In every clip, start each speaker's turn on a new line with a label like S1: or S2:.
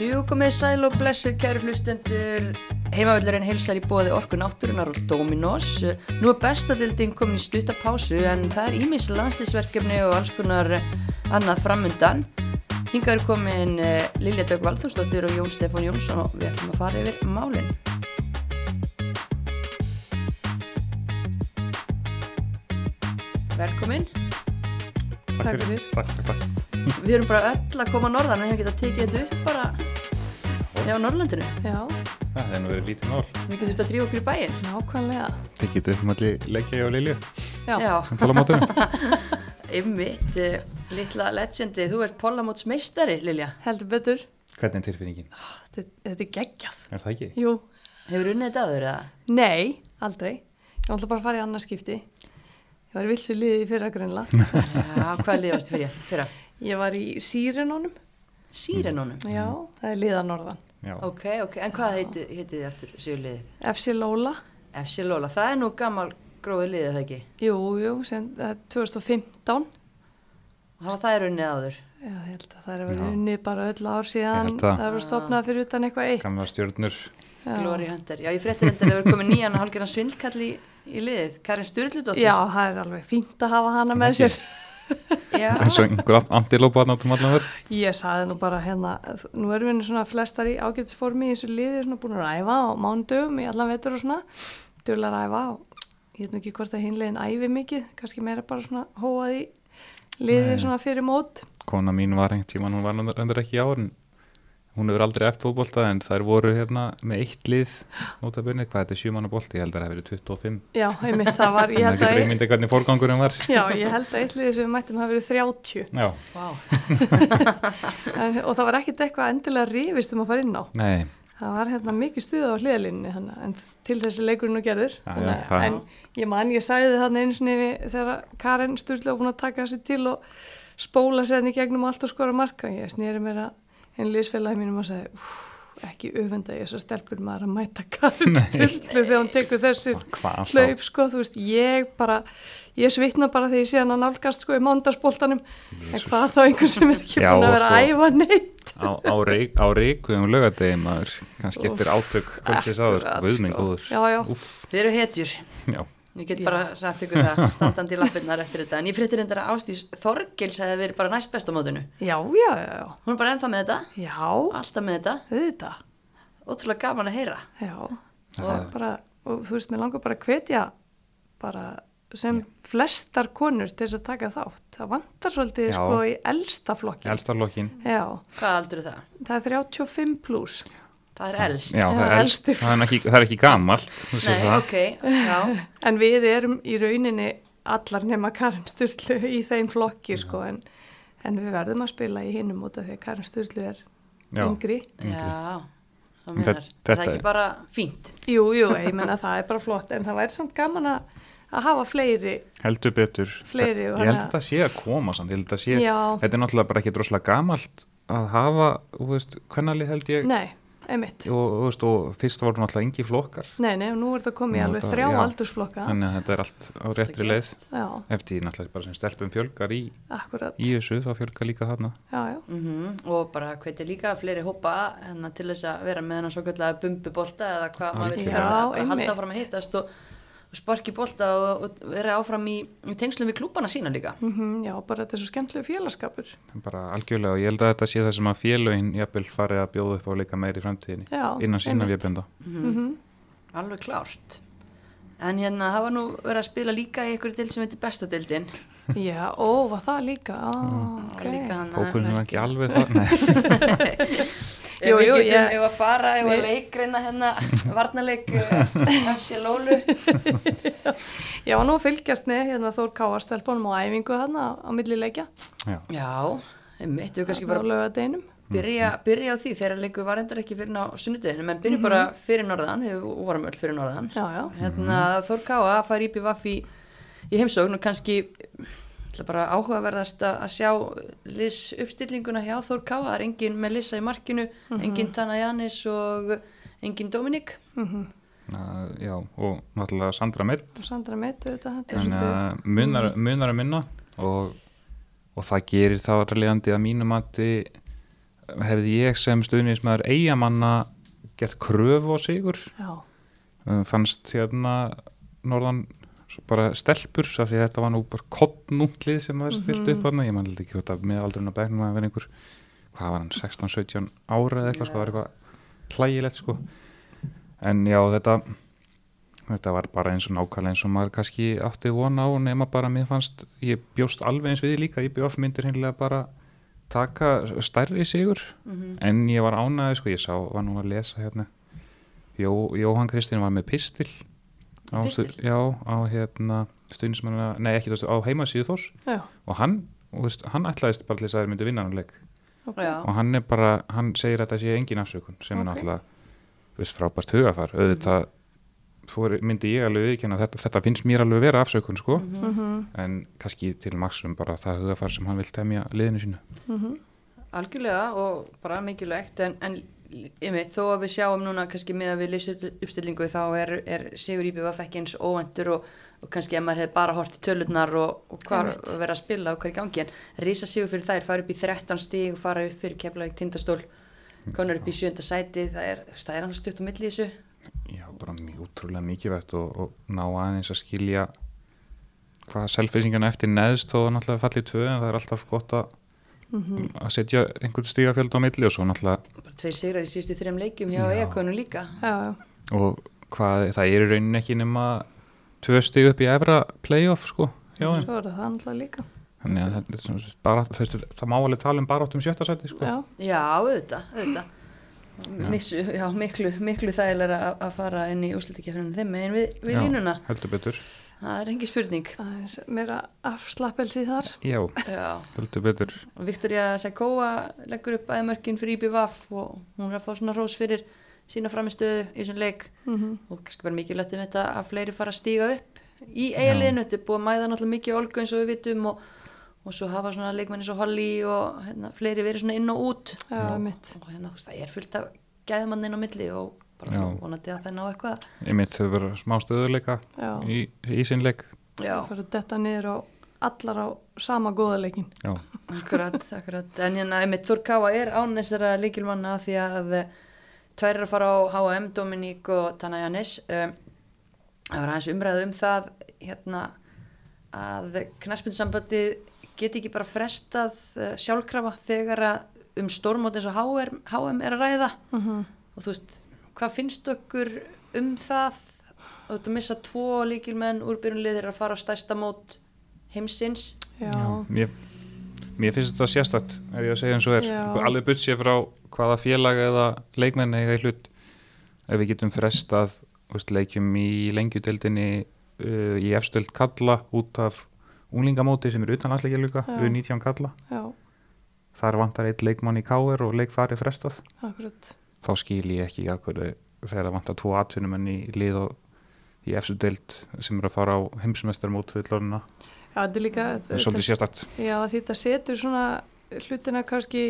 S1: Jú, komið sæl og blessuð, kæru hlustendur. Heimavöldurinn heilsar í bóði Orku náttúrunar og Dominos. Nú er bestadildin komin í stuttapásu en það er ímis landslýsverkefni og alls konar annað framundan. Hingar er komin eh, Lilja Dögg Valþórsdóttir og Jón Stefán Jónsson og við ætlum að fara yfir málinn. Velkomin.
S2: Takk
S3: Takk
S2: fyrir.
S3: fyrir. Takk, takk, takk.
S1: Við erum bara öll að koma að norðan, við hefum getað tekið þetta upp bara Já, á Norrlandinu.
S2: Já,
S3: Það er nú verið lítið mál.
S1: Við getum þetta að drífa okkur í bæinn.
S2: nákvæmlega.
S3: Þið getur upp um allir leggja og Lilju.
S2: Já,
S1: Já,
S3: Hann tala mátunum.
S1: ymmit, litla legendi, þú ert pollamótsmeistari, Lilja.
S2: heldur betur.
S3: Hvernig er tilfinningin?
S2: Þetta, þetta er geggjað.
S3: Er það ekki?
S2: Jú,
S1: Hefur unnið þetta aður eða?
S2: nei, aldrei. Ég ætla bara að fara í annarskipti. Ég var í vilsu liði í fyrra grunla.
S1: Já, hvað liðið varstu fyrir? Fyrra?
S2: Ég var í Sírenónum.
S1: Sírenónum.
S3: Mm.
S2: Já, það er liða norðan.
S3: Já.
S1: Ok, ok, en hvað heiti, heitið þið aftur sigurliðið?
S2: FC Lóla.
S1: FC Lóla, það er nú gammal gróið liðið það ekki?
S2: Jú, jú, sem, það er 2015.
S1: Hafa það er unnið áður?
S2: Já, ég held að það er verið
S3: Já.
S2: unni bara öll ár síðan.
S3: held það.
S2: Það er verið stopnað fyrir utan eitthvað eitt.
S3: Gamla stjórnur.
S2: Já.
S1: Glory Hunter. Já, ég fréttir endur að það er komið nýjan og hálfgerðan svindkall í, í liðið. Karin Sturludóttir.
S2: Já, það er alveg fínt að hafa hana með sér.
S1: Já.
S3: Eins og einhver ant- antilópa hann átum um allan verð.
S2: Ég saði nú bara hérna, nú erum við nú svona flestar í ágætisformi í þessu liði, svona búin að æfa á mándöfum í allan vetur og svona, djúlega að æfa og ég veit nú ekki hvort að hinlegin æfi mikið, kannski meira bara svona hóað í liðið svona fyrir mót.
S3: Kona mín var einhvern tíman, hún var endur ekki í ár, en hún hefur aldrei eftir fótbolta, en þær voru hérna með eitt lið, notabunni, hvað þetta er sjumanna bolti, ég held að það hefur verið 25.
S2: Já, einmitt, það var,
S3: Þannig að
S2: ég held
S3: getur
S2: að, e-
S3: einmyndið hvernig fórgangurinn var.
S2: já, ég held að eitt liðið sem við mættum hafa verið 30
S3: Já.
S1: Vá.
S2: en, og það var ekkit eitthvað endilega rifist um að fara inn á.
S3: Nei,
S2: Það var hérna mikið stuð á hliðalínni þannig, en til þessi leikurinn og gerður.
S3: Já,
S2: Þannig
S3: já,
S2: að-
S3: það-
S2: en ég man, ég sæði þarna einu sinni við, þegar Karen Sturla var búin að taka sér til og spóla sér henni í gegnum allt og skora marka. Ég snýri mér að einu liðsfélagi mínum og sagði, "Úff, ekki öfenda ég þessar stelpur maður að mæta Karen Sturlu þegar hún tekur þessir
S3: hvað þá?
S2: hlaup, sko, þú veist, ég bara, ég svitna bara þegar ég sé hann að nálgast, sko, í mándarsboltanum, en hvað þá einhver sem er ekki
S3: Já,
S2: búin að
S3: og
S2: vera
S3: sko-
S2: að æfa neitt.
S3: Á, á, reik, á reikuðum lögadegi maður, kannski eftir átök kvöldsins aður,
S2: Akkurat,
S3: guðminn
S2: sko.
S3: góður.
S2: Já, já.
S3: Úff,
S1: Þið eru hetjur.
S3: já.
S1: Ég get
S2: Já.
S1: bara sagt ykkur það, standandi í lappirnar eftir þetta. En ég fréttir endur að Ástís Þorgils hefði verið bara næst best á mótinu.
S2: Já, já, já, já.
S1: Hún er bara ennþá með þetta,
S2: Já,
S1: alltaf með þetta,
S2: auðvitað,
S1: ótrúlega gaman að heyra.
S2: já
S3: Já.
S2: og bara, og þú veist, mér langar bara að hvetja bara sem flestar konur til þess að taka þátt það vantar svolítið
S3: Já.
S2: sko í elsta flokki
S3: Elstarlokkin.
S2: já,
S1: Hvað aldur er það?
S2: það er 35 pluss
S1: Það er elst.
S3: Já, það er, elst,
S2: elsti.
S3: það er, ekki, það er ekki gamalt, þú sér
S1: Nei,
S3: það.
S1: ok, já,
S2: en við erum í rauninni allar nema Karin Sturlu í þeim flokki sko en, en við verðum að spila í hinum út af því að Karin Sturlu er
S3: Já.
S2: yngri
S1: já, það
S3: En
S1: menar.
S3: þetta-
S1: Það er
S3: þetta
S1: ekki
S3: er-
S1: bara fínt.
S2: jú, jú, ég menna það er bara flott en það væri samt gaman að, að hafa fleiri
S3: Heldur betur.
S2: Fleiri og
S3: ég held
S2: hana-
S3: að það sé að koma samt, ég held að sé,
S2: Já.
S3: þetta er náttúrulega bara ekki droslega gamalt að hafa, þú veist, hvernalið held ég,
S2: nei, einmitt
S3: og, þú veist, og fyrst voru náttúrulega engi flokkar,
S2: Nei, nei, og nú er þetta komið í
S3: Nú er
S2: alveg
S3: þetta-
S2: þrjá
S3: já.
S2: aldursflokka.
S3: þannig að þetta er allt á réttri leið.
S2: Já,
S3: Eftir því náttúrulega bara sem stelpum fjölgar í,
S2: akkurat.
S3: í þessu, þá fjölgar líka þarna.
S2: Já, já,
S1: Mm Og bara hvetja líka fleiri hópa hennar til þess að vera með hennar svo kallega bumbubolta eða hvað maður vil
S3: Algjörlega.
S1: kalla það,
S2: Já,
S1: bara
S2: einmitt.
S1: halda áfram að hittast og, og sparki bolta og, og vera áfram í, í tengslum við klúbana sína líka.
S2: mm já, bara þetta er svo skemmtilegu félagskapur.
S3: bara algjörlega og ég held að þetta sé það sem að félögin jafnvel farið að bjóða upp á leika meir í framtíðinni
S2: Já,
S3: innan sína
S2: einmitt.
S3: vébenda
S1: Alveg klárt. En hérna, það var nú verið að spila líka í einhverju dild sem heitir bestadildin.
S2: Já, ó, var það líka?
S3: Mm.
S2: Ah, ok.
S1: Líka hann
S3: fókunum var ekki alveg það nei,
S1: Jú,
S2: Jú,
S1: jú,
S2: jú,
S1: við getum,
S2: ég-
S1: ef að fara, ef að
S2: Við-
S1: leikreina hérna, varnarleik, eh, hefsi lólu.
S2: Ég var nú að fylgjast með hérna Þór Káastelpunum á æfingu þarna á- á milli leikja.
S3: já,
S1: Já, einmitt, við kannski bara
S2: Á lögadeinum.
S1: byrja, byrja á því, þeirra leiku var endar ekki fyrir á sunnudeginu, menn byrja bara fyrir norðan, við vorum öll fyrir norðan.
S2: Já, já.
S1: Hérna, Þór Káa fær íbjöf af í, í heimsókn og kannski, ætla bara áhugaverðast að að sjá liðs uppstillinguna hjá Þór Káa, það er engin með Lissa í markinu, engin Tana Janis og engin Dominik.
S3: Na, já og náttúrulega Sandra Meitt
S2: Og Sandra Meitu þetta, þetta er
S3: þannig
S2: svolítið.
S3: að munar, um munar að minna og, og það gerir þá ræðlegandi að mínum að hefði ég sem stuðnismæður eigamanna gert kröfu á sigur
S2: já,
S3: Um, fannst hérna norðan svo bara stelpur svo því að þetta var nú bara kottnúklið sem maður stilt upp hann ég man held ekki hvort að með aldrun að bæknum að vera einhver hvað var hann, 16-17 ára eða eitthvað sko, það var eitthvað hlægilegt sko en já þetta þetta var bara eins og nákvæmlega eins og maður kannski átti von á nema bara mér fannst, ég bjóst alveg eins við því líka ég bjóf myndir hinnlega bara taka stærri sigur
S1: Mhm.
S3: en ég var ánæði sko, ég sá var nú að lesa hérna Jó, Jóhann Kristinn var með pistil á,
S1: Pistil?
S3: stu- Já, á hérna stundismanna, nei ekki þú á heimasíðu Þórs
S2: já,
S3: og hann, og veist, hann ætlaðist bara til þess að þeir myndu vinna hann um leik
S1: já,
S3: og hann er bara, hann segir að það sé engin afsökun sem er
S1: Ok.
S3: náttúrulega þú veist, frábært hugafar, auðvitað þú er, myndi ég alveg viðkjanna þetta, þetta finnst mér alveg vera afsökun sko
S1: Mhm.
S3: en kannski til maksum bara það hugafar sem hann vil temja liðinu sínu
S1: algjörlega og bara mikilvægt en, en einmitt, þó að við sjáum núna kannski með að við leysum uppstillingu þá er, er Sigur Íbjöf ekki eins óvendur og, og kannski ef maður hefði bara hort í tölurnar og, og hvað
S2: Einmitt.
S1: verið að spila og hvað er í gangi en Rísa Sigur fyrir þær fara upp í 13 stíg og fara upp fyrir keflaðið tindastól
S3: Mm.
S1: konar upp í sjönda sæti það er, það er alltaf stutt á milli í þessu
S3: Já, bara mjög útrúlega mikilvægt og, og ná aðeins að skilja hvað selfisingarna eftir neðst og náttúrulega fallið tvö en það er alltaf gott að,
S2: Mhm.
S3: að setja einhvern stígafjöld á milli og svo náttúrulega
S1: bara tveir sigrar í síðustu þrejum leikjum hjá
S3: Já.
S1: Eikonu líka
S2: já, já.
S3: og hvað, það er í rauninni ekki nema tvö stíg upp í efra playoff sko hjá þeim.
S2: svo er það alltaf líka
S3: Þannig að þetta er sem sagt bara, þessi, það má alveg tala um bara áttum sjötta sæti sko.
S2: já,
S1: Já, auðvitað, auðvitað. Missu, já, miklu, miklu þægilega að, að fara inn í úslitikefninu þeim en við, við
S3: Já,
S1: línuna,
S3: Heldur betur.
S1: það er engi spurning
S2: aðeins meira afslappelsi þar
S3: Já,
S1: Já,
S3: heldur betur.
S1: og Viktoria Sækóa leggur upp aðeimörkin fyrir IBVF og hún er að fá svona rós fyrir sína framistöðu í svona leik
S2: Mhm.
S1: og kannski bara mikilvægt um þetta að fleiri fara að stíga upp í eigaliðinu, þetta er búið að mæða náttúrulega mikið olgu eins og við vitum og, og svo hafa svona leikmenni svo Holly og hérna, fleiri verið svona inn og út
S2: já, mitt
S1: og hérna þú veist það er fullt af gæðmannin á milli og bara
S3: Já.
S1: svona vonandi að það ná eitthvað
S3: Ég mitt þau vera smá stöðuleika
S2: já,
S3: í, í sinnleik.
S1: já,
S2: fyrir að detta niður á allar á sama góða leikin
S3: Já,
S1: akkurat, akkurat en hérna einmitt Þór Káa er án þessara líkilmanna því að eh, tvær eru að fara á H&M, Dominík og Tana Jannis um, það var aðeins umræðu um það hérna að knaspinsambandi geti ekki bara frestað eh, sjálfkrafa þegar að um stórmót eins og HM, HM er að ræða
S2: Mhm.
S1: og þú veist, hvað finnst okkur um það þú ert að missa tvo líkilmenn úr byrjunlið þeirra að fara á stærsta mót heimsins
S2: já,
S3: Já, mér, mér finnst þetta sérstætt ef ég að segja eins og er,
S2: Já.
S3: alveg butt sér frá hvaða félag eða leikmenn eiga í hlut ef við getum frestað þú veist, leikjum í lengjudeldinni uh, í efstöld kalla út af unglingamóti sem er utan landsleikja líka,
S2: Já.
S3: U19 kalla
S2: já,
S3: þar vantar eitt leikmann í káir og leik þar er frestað
S2: akkurat
S3: þá skil ég ekki að hverju þegar það vantar tvo atvinnumenn í lið og í efstudeld sem eru að fara á heimsumestar mót fullorna,
S2: já, þetta er líka
S3: það er svolítið sérstætt
S2: Já, því þetta setur svona hlutina kannski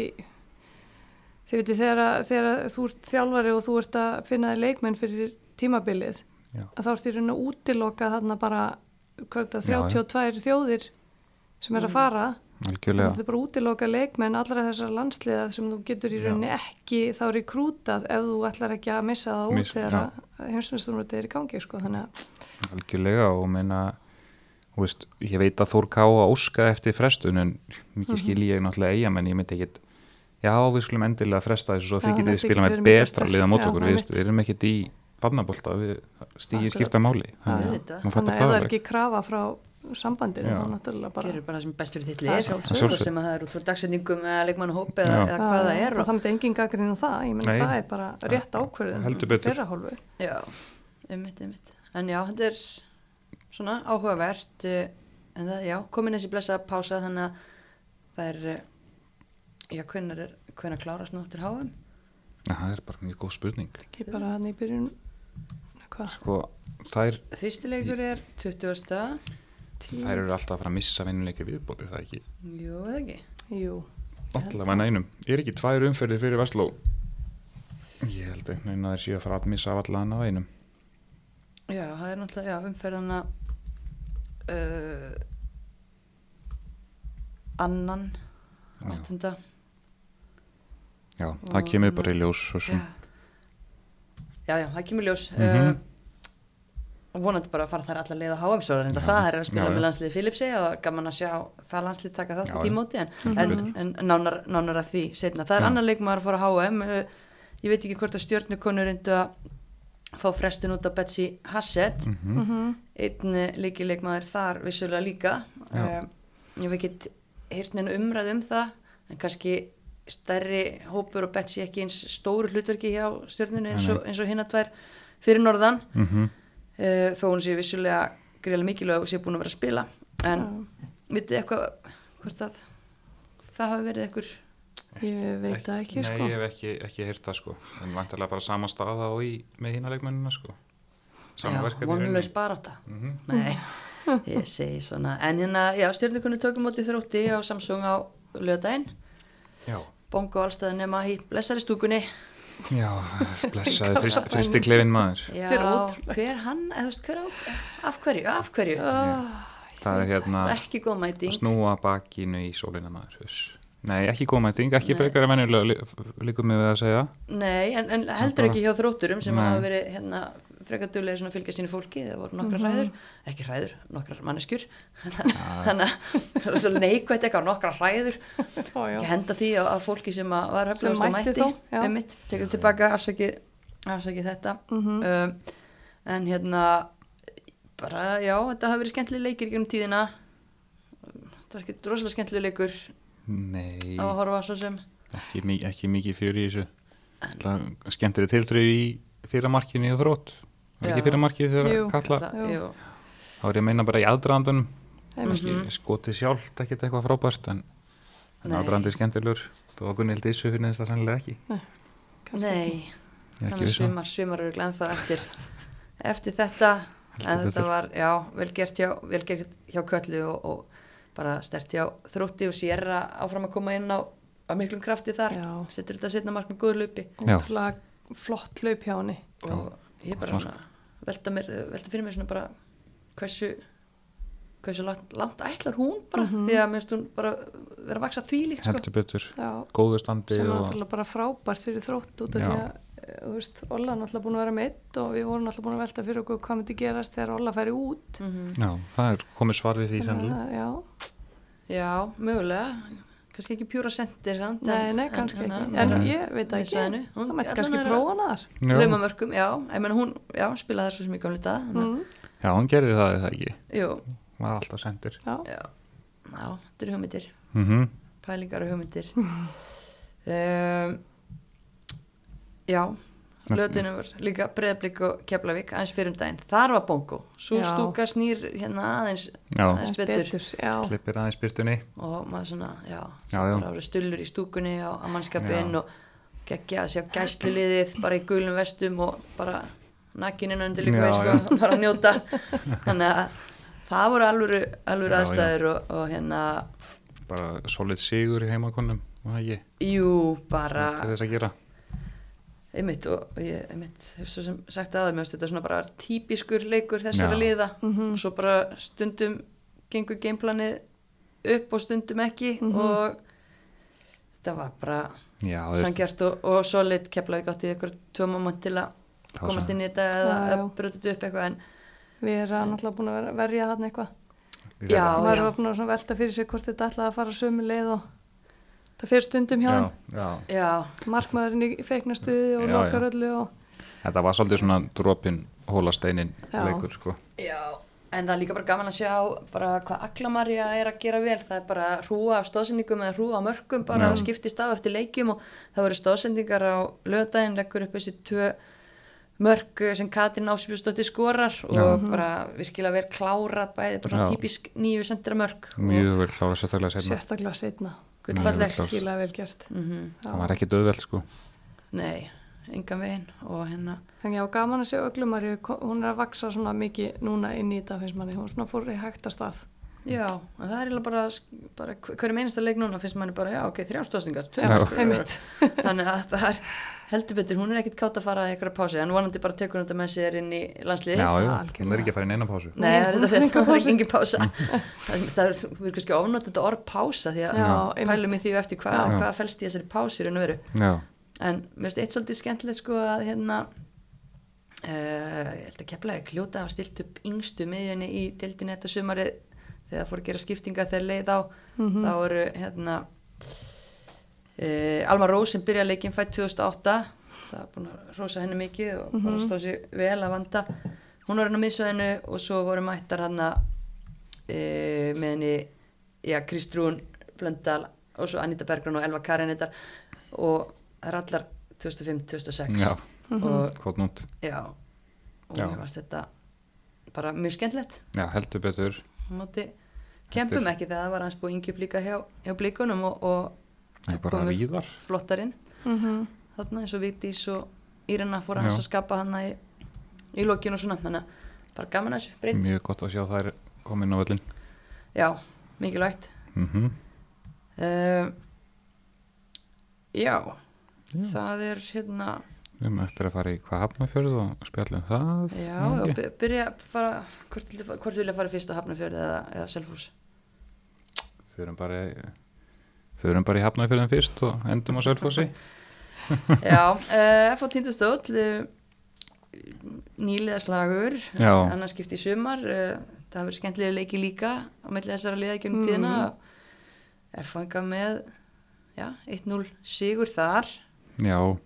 S2: þið veitir þegar, að- þegar að þú ert þjálfari og þú ert að finna þér leikmenn fyrir tímabilið
S3: Já.
S2: að þá ert í raun að útiloka þarna bara hvert að
S3: Já, já.
S2: 32 þjóðir sem er að fara þannig
S3: algjörlega
S2: að þú bara útiloka leikmenn allra þessar landsliða sem þú getur í
S3: Já.
S2: rauninni ekki þá rekrútað ef þú ætlar ekki að missa það út
S3: Miss-
S2: þegar
S3: já.
S2: að heimsumstofnvöldið er í gangi sko, þannig að
S3: algjörlega og meina þú veist, ég veit að Þór Ká að óska eftir frestun en mikið skil ég náttúrulega eiga menn ég myndi ekkit já við skulum endilega fresta þessu svo
S2: Já,
S3: þið getið
S2: þið
S3: þið spila
S2: getið
S3: með
S2: verið með
S3: betra
S2: bestar.
S3: liða mót
S2: Já,
S3: okkur
S2: það
S3: við,
S2: er
S3: veist, við erum ekkit í barnabólta við stíði
S2: Akkurat.
S3: skipta máli
S1: já.
S3: þannig
S1: Auðvitað.
S3: að maður
S2: þannig
S3: fattar
S2: að
S3: það
S2: ef það er
S3: alveg.
S2: ekki krafa frá sambandinu
S3: Já.
S2: þá náttúrulega bara
S1: gerir bara það sem bestur í þitt
S2: Það er
S1: lið
S2: sjálfsagt.
S1: svo sem að það er út frá dagsetningum eða leikmannhóp eða,
S3: Já.
S1: eða hvað það er
S2: og
S1: og,
S2: það myndi engin gaggrinn á það, ég menn
S3: Nei.
S2: það er bara rétt ákverðin
S3: Heldur betur.
S2: þeirra hálfu
S1: já, ummitt, ummitt en já, þetta er svona áhugavert eh, en það, já, komin þessi blessa pása þannig að það er eh, já, hvenar er hvenar klárast nóttir háum
S3: Já, það er bara mjög góð spurning
S2: ekki bara hann í byrjun hvað,
S3: sko, þær,
S1: fyrstileikur er 20.
S2: tíu,
S3: þær eru alltaf að fara að missa vinnuleika viðbóti það er ekki
S1: Jú, eða ekki
S2: jú
S3: allavega nænum er ekki tvær umferðir fyrir Vestló ég held einhvern veginn að þeir séu að fara að missa af allan á einum
S1: Já, það er náttúrulega, já, umferðana uh, annan
S3: Já.
S1: áttunda
S3: já, það kemur bara í ljós svo sem,
S1: já, já, það kemur ljós mm
S3: Mhm.
S1: og vonandi bara að fara þær allar leið á HM svo reynda það er að spila
S3: Já, já.
S1: með landsliði Filipsi og gaman að sjá það landslið taka það
S3: Já,
S1: til
S3: já.
S1: tímóti en,
S3: Heldur
S1: en, en nánar, nánar að því setna. það er
S3: Já.
S1: annar leikmaður að fara á HM uh, ég veit ekki hvort að stjórnukonur reyndu að fá frestun út af Betsy Hassett mm
S3: Mhm.
S1: einn leiki leikmaður þar vissulega líka
S3: Já.
S1: um, ég hef ekki heyrt neina umræð um það en kannski stærri hópur og Betsy ekki eins stóru hlutverki hjá stjórnunu eins og, eins og hinna tvær fyrir norðan
S3: mm
S1: uh, þó hún sé vissulega greiðlega mikilvæg og sé búin að vera að spila en vitið þið eitthvað hvort að það hafi verið ekkur
S2: Ég veit það ekki,
S3: nei,
S2: sko.
S3: ég hef ekki, ekki heyrt það sko en vantarlega bara saman staða og í með hína leikmennina sko Samverkandi í rauninni.
S1: vonulegs baráta
S3: Mhm.
S1: nei, ég segi svona en hérna, já, stjórnukunni tökum móti þrótti á Samsung á löðdæin
S3: já,
S1: bongo allstæðan nema í blessari stúkunni
S3: já blessaði frist, fristiklefin maður
S1: já,
S2: Þetta er ótrúlegt.
S1: hver hann, eða þú veist hver á af hverju, af hverju
S2: Ah,
S3: það er hérna
S1: Það er ekki góð mæting
S3: að snúa bakinu í sólina maður þess. nei, ekki góðmæting, ekki frekar að venjulega líkum við að segja
S1: Nei, en, en heldur
S3: bara-
S1: ekki hjá þrótturum sem
S3: Nei. Mhm.
S1: hafa verið hérna frekar duglega svona að fylgja sínu fólki, það voru nokkrar hræður ekki hræður, nokkrar manneskjur þannig að það er svo neikvætt eitthvað nokkrar hræður,
S2: Ó, já.
S1: ekki henda því að, að fólki sem að var
S2: Sem
S1: höfnast og
S2: mætti
S1: mætti,
S2: þó, já.
S1: einmitt, tekur tilbaka afsaki, afsaki þetta
S2: Mhm.
S1: um, en hérna bara, já, þetta hafa verið skemmtileg leikir í gegnum tíðina þetta er ekki rosalega skemmtileg leikur
S3: nei,
S1: á að horfa svo sem
S3: ekki, mi- ekki mikið fjör í þessu það skemmtir þið tiltrið í fyrra markinu hjá þrótt Er ekki
S1: Já.
S3: fyrra markið þegar
S2: Jú,
S3: kalla
S1: það, jú,
S3: þá er ég að meina bara í aðdraðandunum
S2: Einmitt.
S1: Mhm.
S3: kannski skotið sjálft ekkert eitthvað frábært en, en
S1: Nei.
S3: aðdraðandi er skemmtilegur þó að Gunnhild Issu finnist það sannlega ekki
S2: kannski
S1: nei
S2: ekki.
S3: ég er
S1: þannig
S3: ekki
S1: að
S3: viss um
S1: svimar, svimar eru ennþá eftir, eftir þetta en
S3: Heldur
S1: þetta
S3: betur.
S1: var, já, vel gert hjá, vel gert hjá Köllu og, og bara stert hjá þrótti og sér áfram að koma inn á, á miklum krafti þar,
S2: Já.
S1: setur þetta setna mark með góðu lupi
S3: Já.
S2: Ótrúlega flott laup hjá henni.
S1: og ég bara
S3: Gott
S1: svona velta, mér, velta fyrir mér svona bara hversu hversu langt, langt ætlar hún bara
S2: Mhm.
S1: því að mér finnst hún bara vera að vaksa því líkt sko.
S3: heldur betur,
S2: Já,
S3: góðu standi
S2: sem er
S3: og,
S2: náttúrulega bara frábært fyrir þrótt út af
S3: Já.
S2: því að, eh, þú veist, Olla er náttúrulega búin að vera meitt og við vorum náttúrulega búin að velta fyrir okkur hvað myndi gerast þegar Olla færi út.
S1: Mhm.
S3: já, það er komið svar við því
S2: Þannig
S3: sannlega
S2: að, já,
S1: já, mögulega kannski ekki pjúra sendir samt,
S2: nei,
S1: en-
S2: nei,
S1: en-
S2: kannski
S1: en-
S2: ekki.
S1: en-
S2: En
S3: Nei.
S2: ég veit
S1: Í
S2: það ekki,
S1: svæðinu.
S2: það
S1: Hún-
S2: mætti
S1: allan
S2: kannski
S1: er-
S2: prófa hana þar.
S3: já,
S1: laumamörkum, já, ég meina hún já, spilaði þessu sem ég gamli dag mm.
S2: Mm,
S3: já, hún gerði það eða ekki
S1: jú,
S3: hún var alltaf sendir
S2: Já,
S1: já, já, þetta eru hugmyndir
S3: mm -hmm.
S1: pælingar og hugmyndir um, já lötinu var líka breyðblik og keflavík aðeins fyrir um daginn, þar var bongo svo
S2: Já.
S1: stúka snýr hérna aðeins
S3: já,
S1: Aðeins
S2: aðeins
S1: betur.
S2: Já,
S3: klippir aðeins byrtunni
S1: og maður svona, já,
S3: Já,
S1: já,
S3: já.
S1: já. ára stullur í stúkunni á, á mannskapin
S3: Já.
S1: og geggja að sjá gæsluliðið bara í gulum vestum og bara nakininn undir líka
S3: Já,
S1: veist sko, bara að njóta þannig að það voru alvöru, alvöru
S3: Já,
S1: aðstæður og, og hérna
S3: bara solid sigur í heimakonum og það ekki,
S1: jú, bara
S3: til þess að gera
S1: einmitt og og ég einmitt hef svo sem sagt aðeins, mér finnst þetta svona bara típiskur leikur þessara
S3: Já.
S1: liða og svo bara stundum gengur gameplanið upp og stundum ekki og þetta var bara
S3: já, þú veist,
S1: sangjart og, og solid keflaði gott í ykkur tvö moment til að
S3: Það var
S1: komast
S3: svona.
S1: inn í þetta eða
S2: Já, já.
S1: að brjóta þetta upp eitthvað en
S2: við erum náttúrulega búin að vera- verja þarna eitthvað.
S3: í
S1: Já,
S3: þeirra-
S2: Maður var búin að svona velta fyrir sér hvort þetta ætlaði að fara sömu leið og það fyrir stundum hjá
S3: já,
S2: hann.
S3: já
S1: já,
S2: Markmaðurinn í feiknastuði og
S3: Já, já.
S2: lokar öllu og
S3: Þetta var svolítið svona dropin hólasteinin
S2: Já.
S3: leikur sko.
S1: já en það er líka bara gaman að sjá bara hvað Aklamarja er að gera vel það er bara hrúa af stóðsendingum eða hrúa af mörgum bara
S3: Já.
S1: skiptist af eftir leikjum og það voru stóðsendingar á lögdæðin leggur upp þessi tvö mörg sem Katrin Ásbjörnsdóttir skorar og
S2: Mhm.
S1: bara virkilega vel klárað bæði, bara svona
S3: Já.
S1: típisk nýju sentra mörg
S3: Mjög vel klára sérstaklega sérna.
S2: sérstaklega setna.
S1: gullfallegt
S3: Klár.
S2: Skilaði vel gert.
S3: Það var ekki döðveld sko.
S1: nei, engan veginn og hérna
S2: Þannig að já, gaman að sjá öglumari, hún er að vaksa svona mikið núna inn í þetta finnst manni, hún svona fór í hægta stað.
S1: Já, en það er eiginlega bara, bara hverjum einasta leik núna finnst manni bara, já, ok, þrjá stóðsningar,
S3: Já.
S1: tveimur.
S2: Einmitt.
S1: Þannig að það er heldur betur, hún er ekkit kátt að fara í eitthvað pási, en vonandi bara tekur hún þetta með sér inn í landsliðið.
S3: já, já,
S2: algjörlega.
S3: hún er ekki að fara í neina pásu
S1: Nei, það er
S2: Hún
S1: þetta
S2: er
S1: rétt,
S2: ekki
S1: það er
S2: pásu.
S1: engin pása. það það er, við erum kannski ofnátt þetta orð pása því að
S2: Já,
S1: pælum í því eftir hvað,
S3: Já.
S1: hvað felst í þessari pási í raun og veru.
S3: já,
S1: En mér finnst eitt svolítið skemmtilegt sko að hérna, uh, ég held að keflaði kljóta hafa stilt upp yngstu miðjunni í dildinni þetta sumarið þegar það fór að gera skiptinga þegar leið á, þá eru hérna, uh, Alma Rós sem byrjaði leikinn fætt 2008, það er búin að rosa henni mikið og bara stóð sér vel að vanda, hún var henni á miðsvæðinu og svo voru mættar hann að uh, með henni, já, Kristrún Blöndal og svo Anita Bergrun og Elva Karin þetta og það er allar 2005-2006
S3: já,
S1: og
S3: kottnút
S1: já og
S3: Já.
S1: mér varst þetta bara mjög skemmtilegt
S3: já, heldur betur
S1: á móti kempum ekki þegar það var hans búið yngjum líka hjá, hjá blíkunum og, og
S3: það er bara
S1: komu
S3: víðar
S1: flottarinn
S2: Mhm.
S1: þarna eins og Vigdís og Írena fóra hans
S3: Já.
S1: að skapa hann í, í lokinu og svona þannig að bara gaman að þessu breytt
S3: mjög gott að sjá þær komin á völlin
S1: já, mikilvægt
S3: mm
S1: um, já, það er hérna
S3: við erum eftir að fara í hvað hafnafjörð og spjallum um það
S1: Já,
S3: er
S1: og
S3: ekki?
S1: by- byrja að fara, hvort vilja, hvort vilja fara fyrst að Hafnarfjörð eða, eða Selfors?
S3: förum bara í förum bara í hafnafjörðin fyrst og endum á Selfossi
S1: Já, uh, F.O. Tindastóll, uh, nýliðarslagur,
S3: Já.
S1: annars skipt í sumar, uh, það hafa verið skemmtilega leiki líka á milli þessara liða í gegnum tíðina. F.O. enga með, já, 1-0 sigur þar
S3: já,
S1: og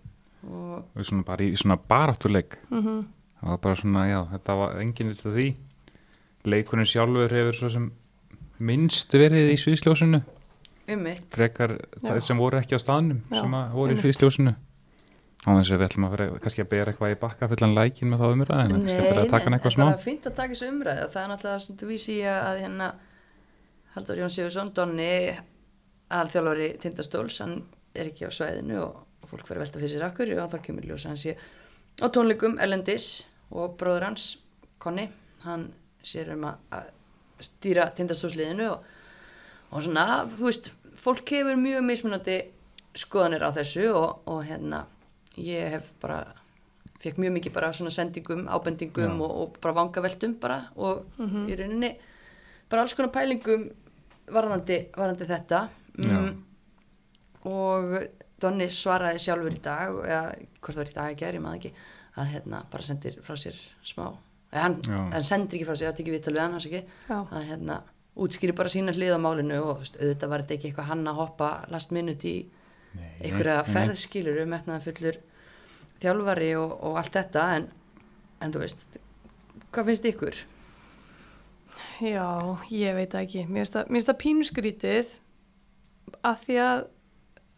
S3: og svona bara í svona baráttuleik
S2: Mhm.
S3: það var bara svona, já, þetta var enginn til því leikurinn sjálfur hefur svo sem minnst verið í sviðsljósinu
S1: ummitt.
S3: frekar það sem voru ekki á staðnum
S2: Já,
S3: sem að voru í
S2: einmitt.
S3: sviðsljósinu á þess að við ætlum að vera kannski að bera eitthvað í bakka fyllan lækin með þá umræðin kannski að bera að taka hann eitthvað smá
S1: bara fínt að taka þessu umræðu og það er náttúrulega svona vísi í að hérna Haldur Jón Sigursson, Donni alþjálfari Tindastóls hann er ekki á svæðinu og fólk verður velta fyrir sér akkur og þá kemur ljósa hann sé á tónleikum Erlendis og bróður hans Conny, hann sér um að- að stýra Tindastólsliðinu og, og svona, þú veist fólk hefur mjög mismunandi skoðanir á þessu og, og hérna ég hef bara fekk mjög mikið bara svona sendingum, ábendingum
S3: Já.
S1: og, og bara vangaveltum bara og í rauninni bara alls konar pælingum varðandi, varðandi þetta mm, og Donni svaraði sjálfur í dag eða hvort það var í dag að gera, ég maður ekki að hérna bara sendir frá sér smá eða hann,
S3: Já.
S1: hann sendir ekki frá sér, það tekið viðtal við hann hans ekki
S2: Já.
S1: að hérna útskýri bara sína hlið á málinu og þú veist, auðvitað var þetta ekki eitthvað hann að hoppa last minute í
S3: Mhm,
S1: einhverja ferðskilur um etnaðan fullur þjálfari og, og allt þetta en, en þú veist hvað finnst ykkur?
S2: Já, ég veit það ekki. Mér finnst það- mér finnst það pínusgrítið að því að,